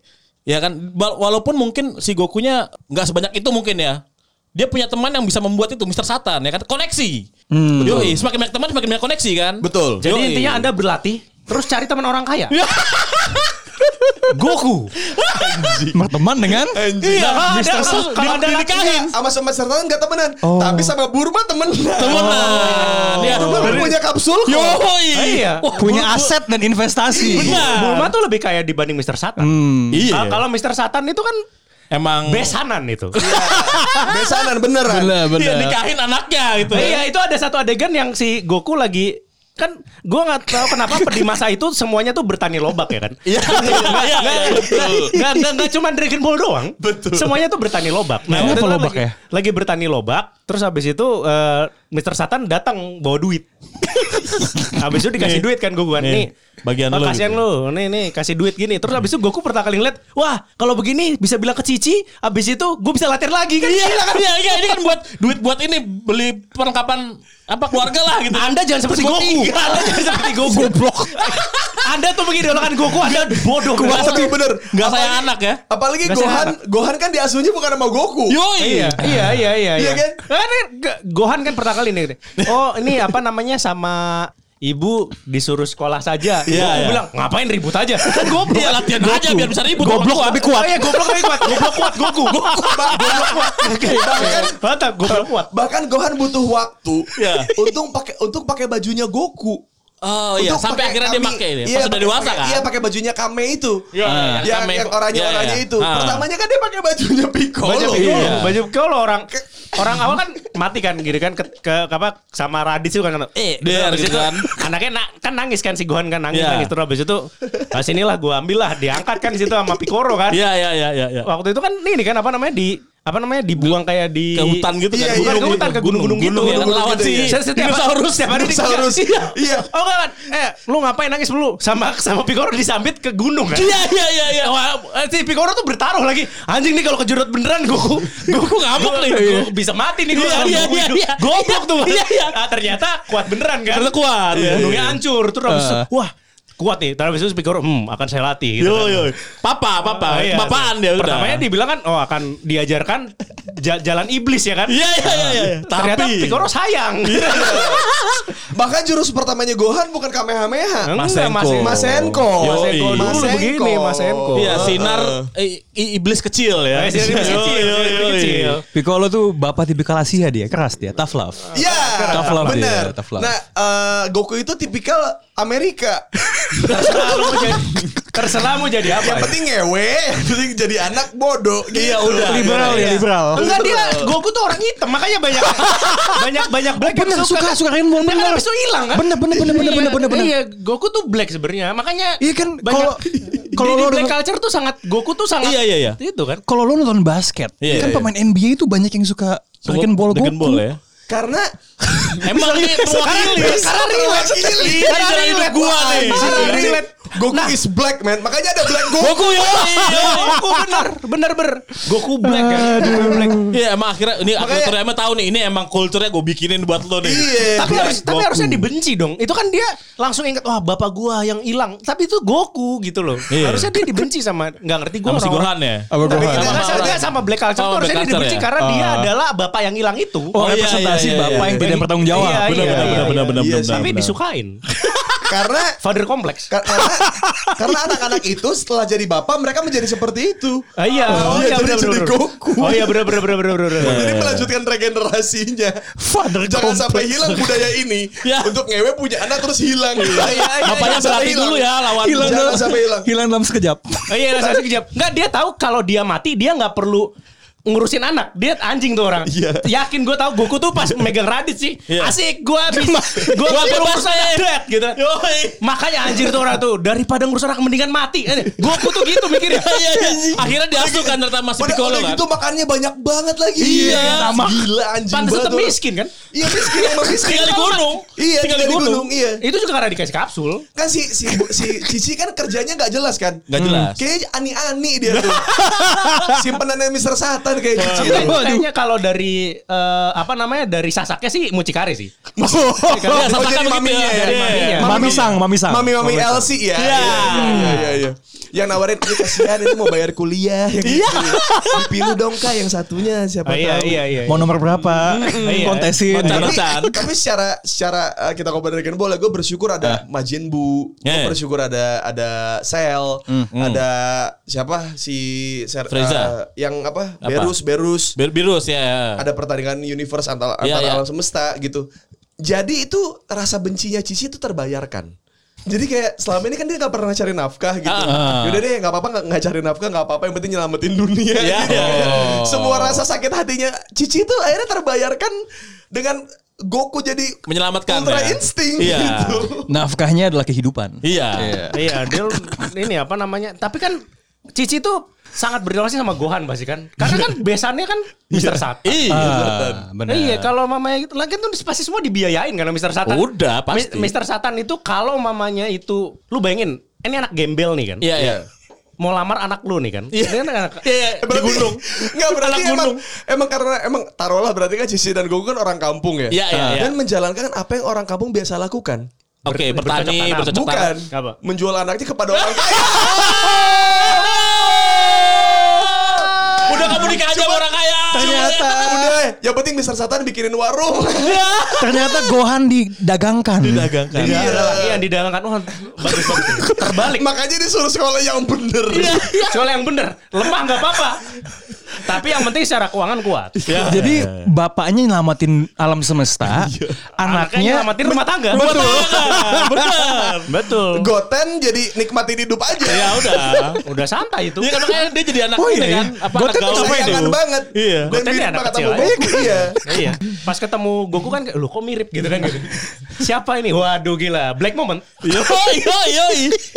Speaker 5: Ya kan Ba- walaupun mungkin si Gokunya nggak sebanyak itu mungkin ya. Dia punya teman yang bisa membuat itu Mr. Satan ya kan koneksi. Yoi, semakin banyak teman semakin banyak koneksi kan?
Speaker 6: Hmm. Betul.
Speaker 7: Jadi
Speaker 5: Yoi.
Speaker 7: intinya Anda berlatih terus cari teman orang kaya. Goku.
Speaker 1: Berteman dengan
Speaker 5: Iya,
Speaker 7: Nah,
Speaker 5: ada-
Speaker 7: Mr. Satan.
Speaker 5: kalau ada
Speaker 7: Di-
Speaker 5: nikahin
Speaker 6: Iya, Sama sama Sertan enggak temenan,
Speaker 5: Oh.
Speaker 6: tapi sama Burma temenan.
Speaker 5: temenan. Ya.
Speaker 6: Burma punya kapsul kok.
Speaker 5: Yoi.
Speaker 7: Ah, iya.
Speaker 5: Wah,
Speaker 1: punya
Speaker 5: Bul-
Speaker 1: aset dan investasi.
Speaker 5: Benar.
Speaker 7: Bulma tuh lebih kaya dibanding Mr. Satan.
Speaker 1: Iya. Hmm.
Speaker 5: Iya.
Speaker 7: Ka- Kalau Mr. Satan itu kan
Speaker 5: emang
Speaker 7: besanan itu.
Speaker 6: Besanan beneran.
Speaker 1: Benar,
Speaker 5: Iya,
Speaker 1: benar.
Speaker 5: nikahin anaknya gitu.
Speaker 7: Iya itu ada satu adegan yang si Goku lagi kan gue nggak tahu kenapa di masa itu semuanya tuh bertani lobak ya kan
Speaker 5: Iya, iya, iya, betul.
Speaker 7: nggak nggak nggak cuma Dragon Ball doang betul semuanya tuh bertani lobak
Speaker 5: Nah,
Speaker 1: Kenapa
Speaker 7: waktu itu
Speaker 1: lobak
Speaker 7: lagi,
Speaker 1: ya?
Speaker 7: lagi bertani lobak terus habis itu eh, Mr. Satan datang bawa duit habis itu dikasih
Speaker 5: Nih.
Speaker 7: duit kan Goku kan
Speaker 5: Nih,
Speaker 7: nih
Speaker 5: bagian
Speaker 7: Pak,
Speaker 5: lu
Speaker 7: kasihan
Speaker 5: gitu.
Speaker 7: lu nih nih kasih duit gini terus habis itu Goku pertama kali ngeliat wah kalau begini bisa bilang ke Cici habis itu gue bisa latihan lagi kan
Speaker 5: Iya, iya, iya, ini kan buat duit buat ini beli perlengkapan apa keluarga lah gitu.
Speaker 7: Anda jangan seperti Goku. Anda jangan seperti Goku. Goblok. Anda tuh mengidolakan Goku, Anda bodoh.
Speaker 6: Gua
Speaker 7: Anda
Speaker 6: tapi bener.
Speaker 5: Gak
Speaker 6: Apalagi-
Speaker 5: sayang anak ya.
Speaker 6: Apalagi
Speaker 7: Nggak
Speaker 6: Gohan,
Speaker 7: sayang
Speaker 6: Gohan kan diasuhnya bukan sama Goku.
Speaker 5: Yoi.
Speaker 7: Iya, iya, iya, iya.
Speaker 6: Iya
Speaker 7: iya.
Speaker 6: kan?
Speaker 7: Nah, ini G- Gohan kan pertama kali nih. Oh, ini apa namanya sama ibu disuruh sekolah saja.
Speaker 5: Iya,
Speaker 7: Goku
Speaker 5: iya.
Speaker 7: bilang, ngapain ribut aja. Kan goblok.
Speaker 5: Iya, latihan aja biar bisa ribut.
Speaker 7: Goblok
Speaker 5: Goblok
Speaker 7: lebih kuat. Oh, iya, goblok lebih kuat. Goblok kuat, Goku. Goku. Goblok kuat.
Speaker 6: Bahkan
Speaker 7: Mantap, goblok kuat.
Speaker 6: bahkan Gohan butuh waktu.
Speaker 5: Iya.
Speaker 6: Untung pakai untuk pakai bajunya Goku.
Speaker 5: Oh iya,
Speaker 6: Untuk
Speaker 5: sampai
Speaker 6: pakai
Speaker 5: akhirnya dia
Speaker 6: kami-
Speaker 5: pakai ini.
Speaker 6: Iya,
Speaker 5: Pas udah
Speaker 6: pakai-
Speaker 5: dewasa kan.
Speaker 6: Iya, pakai bajunya Kame itu.
Speaker 5: Iya,
Speaker 6: Ah.
Speaker 5: iya,
Speaker 6: yang
Speaker 5: Kame.
Speaker 6: yang oranye-oranye
Speaker 5: Iya, iya.
Speaker 6: itu.
Speaker 5: Ah.
Speaker 6: Pertamanya kan dia pakai bajunya Piccolo.
Speaker 7: Baca Piccolo,
Speaker 5: Iya.
Speaker 7: baca Piccolo orang orang awal kan mati kan gitu kan ke, ke apa sama Raditz itu kan eh
Speaker 5: Der,
Speaker 7: terus habis
Speaker 5: gitu
Speaker 7: itu
Speaker 5: kan.
Speaker 7: anaknya na- kan nangis kan si Gohan kan nangis
Speaker 5: Iya.
Speaker 7: nangis terus habis itu nah sinilah gua ambil lah diangkat kan di situ sama Piccolo kan
Speaker 5: Iya, iya, iya, iya, iya.
Speaker 7: waktu itu kan ini kan apa namanya di apa namanya dibuang kayak di
Speaker 5: Ke hutan gitu
Speaker 6: Iya,
Speaker 5: kan.
Speaker 7: bukan ke hutan ke gunung-gunung gitu
Speaker 5: ya kan, lawan
Speaker 7: gitu,
Speaker 5: si
Speaker 7: ya. setiap
Speaker 5: dinosaurus.
Speaker 7: setiap hari di-
Speaker 6: Dinosaurus. Iya.
Speaker 7: oh enggak kan eh lu ngapain nangis dulu sama sama Piccolo disambit ke gunung kan
Speaker 5: Iya, iya, iya, iya.
Speaker 7: Wah, eh, si Piccolo tuh bertaruh lagi. Anjing nih kalau kejurut beneran Goku. Goku
Speaker 5: ngamuk nih.
Speaker 7: Goku bisa mati nih gua
Speaker 5: Iya,
Speaker 7: sama
Speaker 5: iya,
Speaker 7: Goku
Speaker 5: iya,
Speaker 7: itu.
Speaker 5: iya.
Speaker 7: Goblok tuh.
Speaker 5: Iya, iya.
Speaker 7: Ah, ternyata kuat beneran kan.
Speaker 5: Ternyata kuat. Iya,
Speaker 7: Gunungnya
Speaker 5: iya.
Speaker 7: hancur. Terus habis itu,
Speaker 5: Ah.
Speaker 7: wah kuat nih. Terus habis itu si Piccolo, hmm akan saya latih. Gitu
Speaker 5: Yo,
Speaker 7: kan.
Speaker 5: yo. Papa, papa.
Speaker 7: Ah, iya.
Speaker 5: Papaan dia udah.
Speaker 7: Pertamanya dibilang kan, oh akan diajarkan ja- jalan iblis ya kan.
Speaker 5: Iya, iya, iya, iya.
Speaker 7: Ternyata
Speaker 5: Tapi- Iya,
Speaker 7: Piccolo sayang.
Speaker 6: Bahkan jurus pertamanya Gohan bukan Kamehameha.
Speaker 7: Enggak,
Speaker 5: Masenko.
Speaker 6: Masenko.
Speaker 7: Masenko dulu
Speaker 6: Masenko.
Speaker 7: begini, Masenko.
Speaker 5: Iya, sinar i- i- iblis kecil ya.
Speaker 7: Eh, sinar iblis
Speaker 5: Yo,
Speaker 7: kecil,
Speaker 5: yo,
Speaker 7: sinar iblis
Speaker 5: yo,
Speaker 7: kecil.
Speaker 5: yo.
Speaker 1: Piccolo tuh bapak tipikal Asia dia, keras dia, tough love.
Speaker 6: Iya,
Speaker 1: Tough love dia,
Speaker 6: bener.
Speaker 1: tough love.
Speaker 6: Nah, eh, Goku itu tipikal Amerika.
Speaker 7: Terserah lu mau jadi, terserah mau jadi apa.
Speaker 6: yang penting ngewe, yang penting jadi anak bodoh. Iya udah.
Speaker 1: liberal ya, liberal.
Speaker 7: Enggak dia Goku tuh orang hitam makanya banyak banyak banyak black yang
Speaker 1: Oh, Bener, suka, suka Rainbow,
Speaker 7: Dia kan
Speaker 1: bener.
Speaker 7: habis itu hilang kan?
Speaker 1: Bener, bener, bener, bener,
Speaker 7: Iya,
Speaker 1: bener, bener, bener.
Speaker 7: Iya, Goku tuh black sebenarnya. Makanya
Speaker 1: Iya kan,
Speaker 7: banyak-
Speaker 1: kalau- kalau
Speaker 7: di, di
Speaker 1: lo
Speaker 7: black
Speaker 1: denger-
Speaker 7: culture tuh sangat Goku tuh sangat
Speaker 5: Iya, iya, iya.
Speaker 7: itu kan.
Speaker 1: Kalau lo nonton basket,
Speaker 5: Iya,
Speaker 1: kan
Speaker 5: iya.
Speaker 1: pemain NBA itu banyak yang suka Dragon Ball
Speaker 5: Dragon
Speaker 1: Goku.
Speaker 5: ya.
Speaker 6: Karena
Speaker 5: Emang ini mewakili.
Speaker 6: karena relate ini
Speaker 5: Karena relate gua nih.
Speaker 6: Karena
Speaker 7: Relate.
Speaker 6: relate. Goku is black man. Makanya ada black Goku.
Speaker 5: Goku yo. Iya.
Speaker 7: Goku benar, benar ber. Goku black kan. Goku black.
Speaker 5: Iya emang akhirnya ini aku
Speaker 6: Makanya-
Speaker 5: ternyata tahu nih ini emang kulturnya gue bikinin buat lo nih.
Speaker 6: Iya.
Speaker 7: Tapi
Speaker 5: Black
Speaker 7: harus, tapi
Speaker 5: Goku.
Speaker 7: harusnya dibenci dong. Itu kan dia langsung ingat wah bapak gua yang hilang. Tapi itu Goku gitu loh.
Speaker 5: Iya.
Speaker 7: Harusnya dia dibenci sama nggak ngerti gua
Speaker 5: Sama si
Speaker 7: orang-orang.
Speaker 5: Gohan ya.
Speaker 1: Apa
Speaker 7: Tapi
Speaker 1: Gohan?
Speaker 7: kita
Speaker 5: Sama-
Speaker 7: nggak sadar dia sama black culture
Speaker 5: sama
Speaker 7: tuh harusnya
Speaker 5: black
Speaker 7: dia
Speaker 5: culture
Speaker 7: dibenci
Speaker 5: ya?
Speaker 7: karena dia adalah bapak yang hilang itu.
Speaker 1: Oh,
Speaker 5: Oh, iya,
Speaker 1: representasi
Speaker 5: iya, iya,
Speaker 1: bapak
Speaker 5: iya.
Speaker 1: yang tidak bertanggung jawab.
Speaker 7: Iya,
Speaker 5: Benar benar benar benar benar
Speaker 6: Iya,
Speaker 5: benar.
Speaker 7: Tapi
Speaker 5: benar.
Speaker 7: disukain.
Speaker 6: Karena
Speaker 7: Father kompleks.
Speaker 6: Kar- karena karena anak-anak itu setelah jadi bapak mereka menjadi seperti itu.
Speaker 7: Ah, iya,
Speaker 6: Oh, iya, jadi- jadi Goku.
Speaker 7: Oh iya, benar benar benar benar benar.
Speaker 6: Jadi melanjutkan regenerasinya.
Speaker 1: Father complex.
Speaker 6: Jangan sampai hilang
Speaker 7: Iya,
Speaker 6: budaya ini.
Speaker 5: Ya. Iya,
Speaker 6: Untuk ngewe punya anak terus hilang.
Speaker 7: iya,
Speaker 5: Bapaknya berarti dulu ya lawan.
Speaker 1: hilang
Speaker 6: Jangan
Speaker 1: dalam,
Speaker 6: sampai hilang.
Speaker 1: hilang dalam sekejap.
Speaker 7: Oh iya, rasa sekejap. Enggak, dia tahu kalau dia mati dia nggak perlu ngurusin anak. Dia anjing tuh orang.
Speaker 6: Iya.
Speaker 7: Yakin gue tahu Goku tuh pas megang Raditz sih.
Speaker 5: Iya.
Speaker 7: Asik gue bisa
Speaker 6: Iya,
Speaker 7: gue
Speaker 5: Gua
Speaker 7: perlu
Speaker 5: bebas
Speaker 7: ngurus anak
Speaker 5: nih.
Speaker 7: duet gitu.
Speaker 5: Yoi.
Speaker 7: Makanya anjir tuh orang tuh daripada ngurus anak mendingan mati. Eh, Goku tuh gitu mikirnya.
Speaker 5: Iya, iya, iya. Akhirnya diasuh kan ternyata masih
Speaker 6: Pada
Speaker 5: Piccolo
Speaker 6: udah
Speaker 5: kan.
Speaker 6: gitu makannya banyak banget lagi.
Speaker 5: Iya.
Speaker 6: Tamak. Gila anjing
Speaker 7: Pantes
Speaker 6: banget.
Speaker 7: tetap
Speaker 6: orang.
Speaker 7: miskin kan?
Speaker 6: Iya miskin emang miskin.
Speaker 5: Tinggal di gunung.
Speaker 6: Iya tinggal di gunung. Iya.
Speaker 7: Itu juga karena dikasih kapsul.
Speaker 6: Kan si si bu- si Cici kan kerjanya nggak jelas kan?
Speaker 5: Nggak jelas.
Speaker 6: Kayaknya ani-ani dia tuh. Simpenannya Mister Satan Bukan kayak cuci.
Speaker 7: Tapi kayaknya kalau dari eh, apa namanya dari sasaknya sih mucikari sih.
Speaker 5: Iya,
Speaker 6: Oh,
Speaker 5: Sasaka
Speaker 6: jadi
Speaker 5: begitu
Speaker 6: maminya ya.
Speaker 5: Jadi
Speaker 7: Iya.
Speaker 5: maminya.
Speaker 1: Mami sang, mami sang.
Speaker 6: Mami mami LC ya. Iya. Iya iya iya. Yang nawarin ini kasihan itu mau bayar kuliah yang gitu. Dipilih dong kak yang satunya siapa
Speaker 7: Oh, iya
Speaker 6: tahu.
Speaker 7: iya iya.
Speaker 1: Mau nomor berapa?
Speaker 7: iya.
Speaker 5: Kontesin.
Speaker 1: Kontesin.
Speaker 6: Tapi,
Speaker 5: Barusan.
Speaker 6: tapi secara secara eh, kita komentar Dragon Ball, gue bersyukur ada Majin Bu, gue
Speaker 5: Ya, ya.
Speaker 6: bersyukur ada ada Cell, ada siapa si Ser,
Speaker 5: Frieza.
Speaker 6: eh, yang apa, Berus Berus,
Speaker 5: Bir- Virus ya.
Speaker 6: ada pertandingan universe antara
Speaker 5: Ya,
Speaker 6: antara
Speaker 5: ya.
Speaker 6: alam semesta gitu. Jadi itu rasa bencinya Cici itu terbayarkan. Jadi kayak selama ini kan dia gak pernah cari nafkah gitu.
Speaker 5: Ah.
Speaker 6: Yaudah deh gak apa-apa gak, nggak cari nafkah gak apa-apa yang penting nyelamatin dunia.
Speaker 5: Ya.
Speaker 6: gitu.
Speaker 5: Oh.
Speaker 6: Semua rasa sakit hatinya Cici itu akhirnya terbayarkan dengan Goku jadi
Speaker 5: Menyelamatkan,
Speaker 6: ultra
Speaker 5: ya.
Speaker 6: insting
Speaker 5: Iya.
Speaker 6: gitu.
Speaker 1: Nafkahnya adalah kehidupan.
Speaker 5: Iya.
Speaker 7: Iya, dia ini apa namanya? Tapi kan Cici tuh sangat berdolasi sama Gohan pasti kan. Karena kan besannya kan Mister Sat.
Speaker 5: Iya.
Speaker 1: Ah, benar.
Speaker 7: Iya, kalau mamanya gitu, lagi tuh pasti semua dibiayain karena Mister Satan.
Speaker 5: Udah, pasti.
Speaker 7: Mi- Mister Satan itu kalau mamanya itu, lu bayangin, ini anak gembel nih kan.
Speaker 5: Iya, iya.
Speaker 7: Mau lamar anak lu nih kan. Ini kan anak
Speaker 5: Iya, di gunung.
Speaker 6: Enggak berarti
Speaker 5: Anak
Speaker 6: emang,
Speaker 5: gunung.
Speaker 6: emang karena emang taruhlah berarti kan Cici dan Goku kan orang kampung ya.
Speaker 5: Iya, iya, iya.
Speaker 6: Dan menjalankan apa yang orang kampung biasa lakukan.
Speaker 5: Oke, bertani,
Speaker 7: bercocok tanam.
Speaker 5: bercocok tanam.
Speaker 6: Bukan.
Speaker 7: Apa?
Speaker 6: Menjual anaknya kepada orang kaya.
Speaker 5: Udah kamu nikah aja sama orang kaya.
Speaker 6: Ternyata. Udah, yang penting Mister Satan bikinin warung.
Speaker 1: Ternyata Gohan didagangkan.
Speaker 5: Didagangkan.
Speaker 7: Iya, ada lagi yang didalangkan. Wah, bagus banget. Terbalik.
Speaker 6: Makanya disuruh sekolah yang bener.
Speaker 5: Iya.
Speaker 7: Soalnya yang bener, lemah nggak apa-apa. Tapi yang penting secara keuangan kuat.
Speaker 5: Iya.
Speaker 1: Jadi bapaknya nyelamatin alam semesta,
Speaker 7: Iya. Anaknya
Speaker 1: anaknya
Speaker 7: nyelamatin rumah tangga.
Speaker 5: Betul. Benar.
Speaker 7: Betul. Ah,
Speaker 6: Goten jadi nikmatin hidup aja.
Speaker 5: Ya udah.
Speaker 7: Udah santai itu.
Speaker 5: Iya kan makanya dia jadi anak
Speaker 1: Oh, iya,
Speaker 5: ini kan.
Speaker 1: iya.
Speaker 5: Apa
Speaker 1: Gua
Speaker 5: anak
Speaker 1: kan
Speaker 5: gaul
Speaker 6: Kesayangan
Speaker 5: itu.
Speaker 6: banget.
Speaker 5: Iya.
Speaker 6: Dan
Speaker 7: Goten
Speaker 6: mirip
Speaker 7: anak
Speaker 6: banget
Speaker 7: kecil
Speaker 6: sama
Speaker 7: aja.
Speaker 6: Goku. Iya.
Speaker 7: iya. Pas ketemu Goku kan kayak, lu kok mirip gitu kan gitu. Siapa ini? Waduh gila, black moment.
Speaker 5: Iya,
Speaker 7: Oh,
Speaker 5: iya, iya.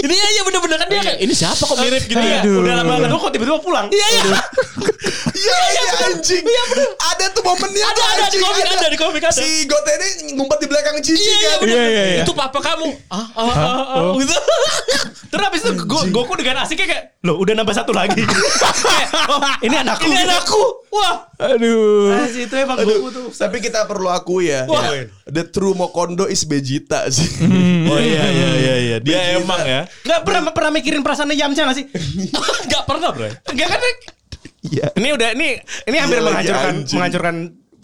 Speaker 5: Ini aja bener-bener kan dia kayak ini siapa kok mirip gitu ya.
Speaker 1: Aduh.
Speaker 7: Udah lama nggak kok tiba-tiba pulang.
Speaker 5: Iya, iya.
Speaker 6: Iya, iya anjing. Ada tuh momennya.
Speaker 5: Ada,
Speaker 6: tuh,
Speaker 5: ada, di
Speaker 6: anjing,
Speaker 5: komik ada, di komik ada.
Speaker 6: Si Goten ini ngumpet di belakang Cici
Speaker 5: Iya,
Speaker 6: kan.
Speaker 5: iya,
Speaker 1: iya, iya.
Speaker 5: Itu papa kamu. Ah, ah, ah, ah,
Speaker 7: oh.
Speaker 5: gitu.
Speaker 7: Terus habis itu Go- Goku dengan asiknya kayak, loh udah nambah satu lagi. Kayak, oh, ini anakku.
Speaker 5: Ini anakku. Wah.
Speaker 1: aduh.
Speaker 7: Ah, itu emang Goku tuh.
Speaker 6: Tapi kita perlu akui ya,
Speaker 5: Wah.
Speaker 6: ya, the true Mokondo is Vegeta sih.
Speaker 5: Oh iya, iya, iya, iya. Dia emang ya.
Speaker 7: Gak pernah pernah mikirin perasaannya Yamcha gak sih?
Speaker 5: Gak pernah, bro.
Speaker 7: Gak kan? Rick?
Speaker 6: Iya.
Speaker 7: Ini udah ini ini hampir
Speaker 6: Iya lagi
Speaker 7: menghancurkan
Speaker 6: anjing.
Speaker 7: menghancurkan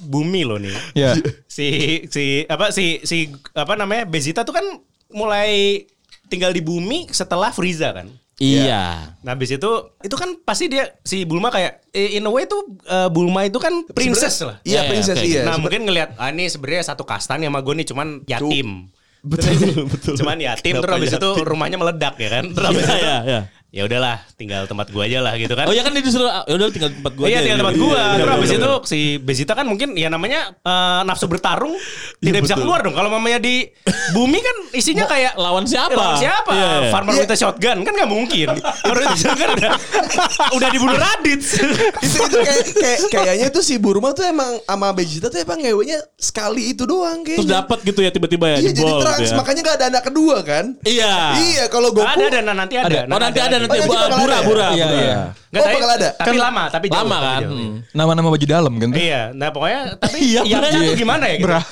Speaker 7: bumi loh nih.
Speaker 1: Ya.
Speaker 7: Si si apa si si apa namanya Bezita tuh kan mulai tinggal di bumi setelah Frieza kan.
Speaker 5: Iya.
Speaker 7: Nah, habis itu itu kan pasti dia si Bulma kayak eh, in a way tuh eh, Bulma itu kan princess lah.
Speaker 6: Iya,
Speaker 5: Iya,
Speaker 6: princess
Speaker 5: oke.
Speaker 6: iya.
Speaker 7: nah, mungkin ngelihat ah ini sebenarnya satu kasta nih sama gue nih cuman yatim.
Speaker 6: Betul, betul.
Speaker 7: Cuman yatim terus habis itu rumahnya meledak ya kan. Terus habis
Speaker 5: Iya,
Speaker 7: itu
Speaker 5: iya, iya.
Speaker 7: ya udahlah tinggal tempat gua aja lah gitu kan.
Speaker 5: Oh ya kan dia disuruh ya udah tinggal tempat gua
Speaker 7: iya
Speaker 5: aja.
Speaker 7: tinggal tempat gua.
Speaker 5: Iya, iya,
Speaker 7: Terus
Speaker 5: iya,
Speaker 7: habis
Speaker 5: iya,
Speaker 7: itu si Bezita kan mungkin ya namanya eh, nafsu bertarung
Speaker 5: Iya,
Speaker 7: tidak bisa keluar dong. Kalau mamanya di bumi kan isinya kayak Eh,
Speaker 5: lawan siapa?
Speaker 7: Lawan siapa?
Speaker 5: Iya, iya. kan
Speaker 7: Farmer with a shotgun kan nggak mungkin. kan Farmer with a shotgun udah, udah dibunuh Raditz.
Speaker 6: itu itu kayak, kayak kayaknya tuh si Burma tuh emang sama Vegeta tuh emang ngewenya sekali itu doang kayaknya.
Speaker 5: Terus dapat gitu ya tiba-tiba ya
Speaker 6: Iya jadi
Speaker 5: jebol
Speaker 6: trans
Speaker 5: gitu ya.
Speaker 6: makanya gak ada anak kedua kan?
Speaker 5: Iya.
Speaker 6: Iya kalau Goku
Speaker 7: ada ada nah, nanti ada.
Speaker 5: Oh nanti ada nanti
Speaker 6: Oh, nanti
Speaker 5: Bu-
Speaker 6: bakal
Speaker 5: bura
Speaker 6: ada.
Speaker 5: bura.
Speaker 1: Iya,
Speaker 5: bura.
Speaker 1: iya.
Speaker 7: Nggak,
Speaker 6: Oh,
Speaker 7: tapi-
Speaker 6: bakal ada.
Speaker 7: Tapi lama, tapi jauh,
Speaker 5: Lama kan.
Speaker 7: tapi jauh, iya.
Speaker 5: Hmm.
Speaker 1: Nama-nama baju dalam kan.
Speaker 7: Iya, nah pokoknya tapi
Speaker 5: Iya,
Speaker 7: Yamcha
Speaker 5: bener.
Speaker 7: tuh gimana ya gitu.
Speaker 1: Berah.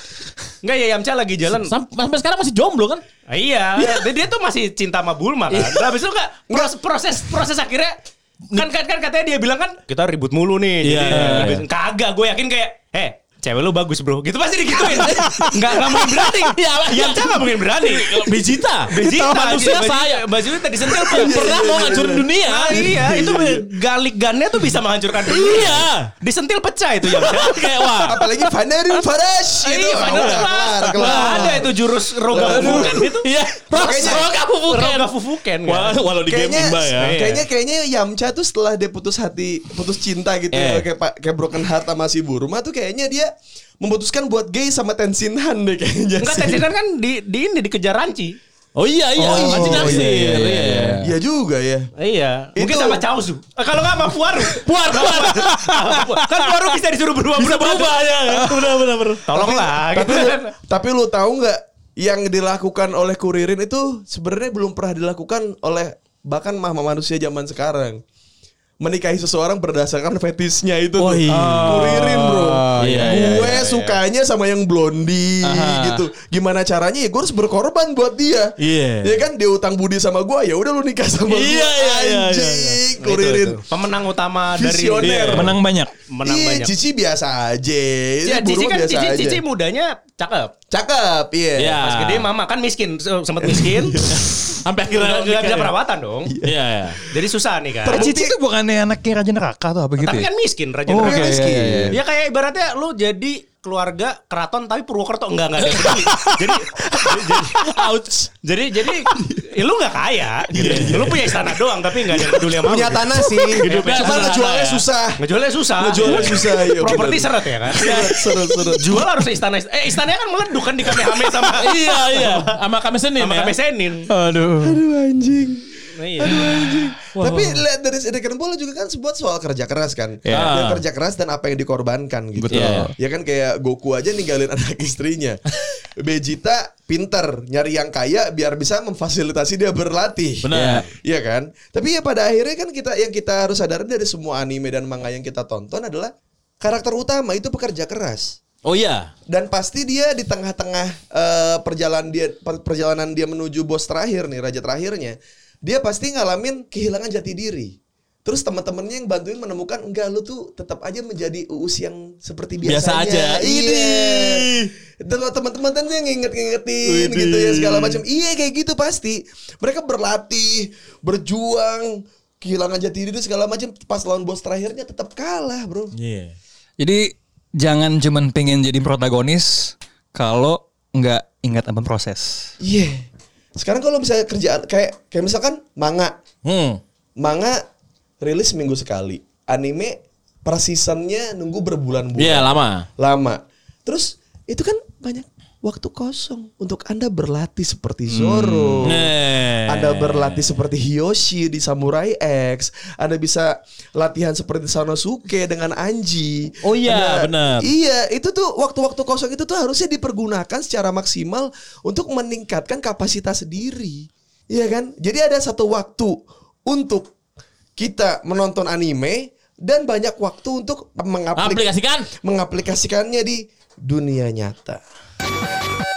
Speaker 7: Enggak ya Yamcha lagi jalan.
Speaker 5: Sam- Sampai sekarang masih jomblo kan?
Speaker 7: Ah, iya, dia, dia tuh masih cinta sama Bulma kan. Nah, habis itu enggak proses, proses proses akhirnya kan, kan kan katanya dia bilang kan kita ribut mulu
Speaker 5: Iya,
Speaker 7: nih.
Speaker 5: iya, iya.
Speaker 7: habis- kagak gue yakin kayak eh cewek lu bagus bro gitu pasti digituin nggak nggak mungkin berani
Speaker 5: Iya, iya.
Speaker 7: Yamcha nggak mungkin berani
Speaker 5: Vegeta.
Speaker 7: Vegeta
Speaker 5: manusia
Speaker 7: Baju-
Speaker 5: saya.
Speaker 7: baju itu tadi sentil
Speaker 5: Pernah mau ngancurin dunia.
Speaker 7: Nah, iya, itu galik gunnya tuh bisa menghancurkan dunia.
Speaker 5: Iya.
Speaker 7: Disentil pecah itu ya.
Speaker 5: Kayak wah.
Speaker 6: apalagi Fanarin Farash itu
Speaker 7: Iya,
Speaker 6: udah
Speaker 7: padahal
Speaker 6: kelar
Speaker 7: kelas.
Speaker 6: kelar.
Speaker 7: Ada itu jurus roga fufuken itu.
Speaker 5: Iya.
Speaker 6: Makanya-
Speaker 5: Roga bukan.
Speaker 7: Roga fufuken. kan.
Speaker 5: Wah, walau di game
Speaker 6: Kayaknya,
Speaker 5: imba ya.
Speaker 6: kayaknya kayaknya Yamcha tuh setelah dia putus hati, putus cinta gitu,
Speaker 5: Iya.
Speaker 6: ya, kayak pa- kayak broken heart sama si Burma tuh kayaknya dia memutuskan buat gay sama Tenshinhan deh kayaknya.
Speaker 7: Enggak,
Speaker 6: sih.
Speaker 7: Tensinan kan di, di ini dikejar ranci.
Speaker 5: Oh iya iya.
Speaker 1: Oh,
Speaker 5: Anjing
Speaker 1: iya,
Speaker 5: naksir.
Speaker 1: iya, iya, iya.
Speaker 6: Iya juga ya.
Speaker 7: Iya, mungkin
Speaker 6: Itu-
Speaker 7: sama Chaozu. Eh, Kalau nggak sama Puaru.
Speaker 5: Puar puar.
Speaker 7: kan Puaru bisa disuruh berubah
Speaker 5: Bisa berubah ya. Benar benar benar.
Speaker 7: Tolonglah
Speaker 6: tapi,
Speaker 7: gitu
Speaker 6: lu,
Speaker 7: kan.
Speaker 6: tapi lu tahu nggak yang dilakukan oleh kuririn itu sebenarnya belum pernah dilakukan oleh bahkan mah manusia zaman sekarang. menikahi seseorang berdasarkan fetisnya itu
Speaker 5: Oh,
Speaker 6: tuh.
Speaker 5: iya.
Speaker 6: Kuririn, Bro.
Speaker 5: Iya,
Speaker 6: gue
Speaker 5: iya,
Speaker 6: sukanya sama yang blondi
Speaker 5: Aha.
Speaker 6: gitu. Gimana caranya ya gue harus berkorban buat dia.
Speaker 5: Iya.
Speaker 6: Ya kan dia utang budi sama gue, ya udah lu nikah sama gue.
Speaker 5: Iya, iya, iya, iya,
Speaker 6: Anjing,
Speaker 5: iya.
Speaker 6: kuririn.
Speaker 7: Pemenang utama dari
Speaker 6: Visioner.
Speaker 7: Iya.
Speaker 1: Menang banyak.
Speaker 7: menang
Speaker 6: Ih,
Speaker 7: banyak.
Speaker 6: Cici biasa aja.
Speaker 7: Ya,
Speaker 6: Itu
Speaker 7: Cici
Speaker 6: burung
Speaker 7: kan
Speaker 6: biasa
Speaker 7: Cici,
Speaker 6: aja.
Speaker 7: Cici mudanya cakep.
Speaker 6: Cakep, iya.
Speaker 5: Iya.
Speaker 7: Pas gede mama kan miskin, sempat miskin.
Speaker 5: Sampai akhirnya
Speaker 7: Nggak nggak bisa
Speaker 5: nikah ya?
Speaker 7: perawatan dong.
Speaker 5: Iya, iya.
Speaker 7: Jadi susah nih kan.
Speaker 6: Terbukti.
Speaker 1: Cici itu bukannya anaknya raja neraka atau apa gitu
Speaker 7: Tapi
Speaker 1: ya?
Speaker 7: kan miskin Raja
Speaker 1: Oh,
Speaker 7: Neraka.
Speaker 1: oke,
Speaker 6: miskin.
Speaker 1: iya, iya,
Speaker 7: Ya kayak ibaratnya lu jadi keluarga keraton tapi Purwokerto enggak enggak ada yang peduli. jadi jadi ouch. Jadi jadi ya lu enggak kaya gitu. Lu punya istana doang tapi enggak ada yang peduli sama lu.
Speaker 6: Punya
Speaker 7: gitu.
Speaker 6: tanah sih.
Speaker 5: Hidupnya
Speaker 6: Cuma
Speaker 5: sederhana
Speaker 6: ngejualnya
Speaker 5: ya.
Speaker 6: susah.
Speaker 7: Ngejualnya susah.
Speaker 6: Ngejualnya susah, iya, benar.
Speaker 7: Properti seret ya kan.
Speaker 6: Seru, seru.
Speaker 7: Jual harus istana. Eh istananya kan meleduk kan di Kamehame sama
Speaker 5: Iya, iya. Sama kami Senin
Speaker 7: sama
Speaker 5: ya.
Speaker 7: Kame Senin.
Speaker 1: Aduh.
Speaker 6: Aduh anjing.
Speaker 7: Iya.
Speaker 6: Tapi lihat dari Sederhana Bola juga kan sebuah soal kerja keras kan.
Speaker 5: Iya.
Speaker 6: Dan kerja keras dan apa yang dikorbankan gitu.
Speaker 5: Betul. Iya.
Speaker 6: Ya kan kayak Goku aja ninggalin anak istrinya. Vegeta pinter nyari yang kaya biar bisa memfasilitasi dia berlatih.
Speaker 5: Benar.
Speaker 6: Iya kan? Tapi ya pada akhirnya kan kita yang kita harus sadari dari semua anime dan manga yang kita tonton adalah karakter utama itu pekerja keras.
Speaker 5: Oh iya.
Speaker 6: Dan pasti dia di tengah-tengah eh, perjalanan dia per- perjalanan dia menuju bos terakhir nih, raja terakhirnya, dia pasti ngalamin kehilangan jati diri. Terus teman-temannya yang bantuin menemukan enggak lu tuh tetap aja menjadi uus yang seperti
Speaker 5: Biasa
Speaker 6: biasanya.
Speaker 5: aja.
Speaker 6: Iya.
Speaker 5: Ini.
Speaker 6: Dan teman-teman tuh yang nginget-ngingetin gitu ya segala macam. Iya kayak gitu pasti. Mereka berlatih, berjuang, kehilangan jati diri segala macam. Pas lawan bos terakhirnya tetap kalah, Bro.
Speaker 5: Iya.
Speaker 1: Jadi jangan cuman pengen jadi protagonis kalau nggak ingat apa proses.
Speaker 6: Iya. Sekarang kalau misalnya kerjaan kayak kayak misalkan manga,
Speaker 5: Hmm.
Speaker 6: manga rilis minggu sekali, anime per seasonnya nunggu berbulan-bulan.
Speaker 5: Iya, lama.
Speaker 6: Lama. Terus itu kan banyak waktu kosong untuk anda berlatih seperti
Speaker 5: Hmm.
Speaker 6: Zoro.
Speaker 5: Nah, Nih.
Speaker 6: Anda berlatih seperti Hiyoshi di Samurai X. Anda bisa latihan seperti Sanosuke dengan Anji.
Speaker 5: Oh iya, benar.
Speaker 6: Iya, itu tuh waktu-waktu kosong itu tuh harusnya dipergunakan secara maksimal untuk meningkatkan kapasitas diri. Iya kan? Jadi ada satu waktu untuk kita menonton anime dan banyak waktu untuk mengaplik-
Speaker 5: Aplikasikan.
Speaker 6: mengaplikasikannya di dunia nyata.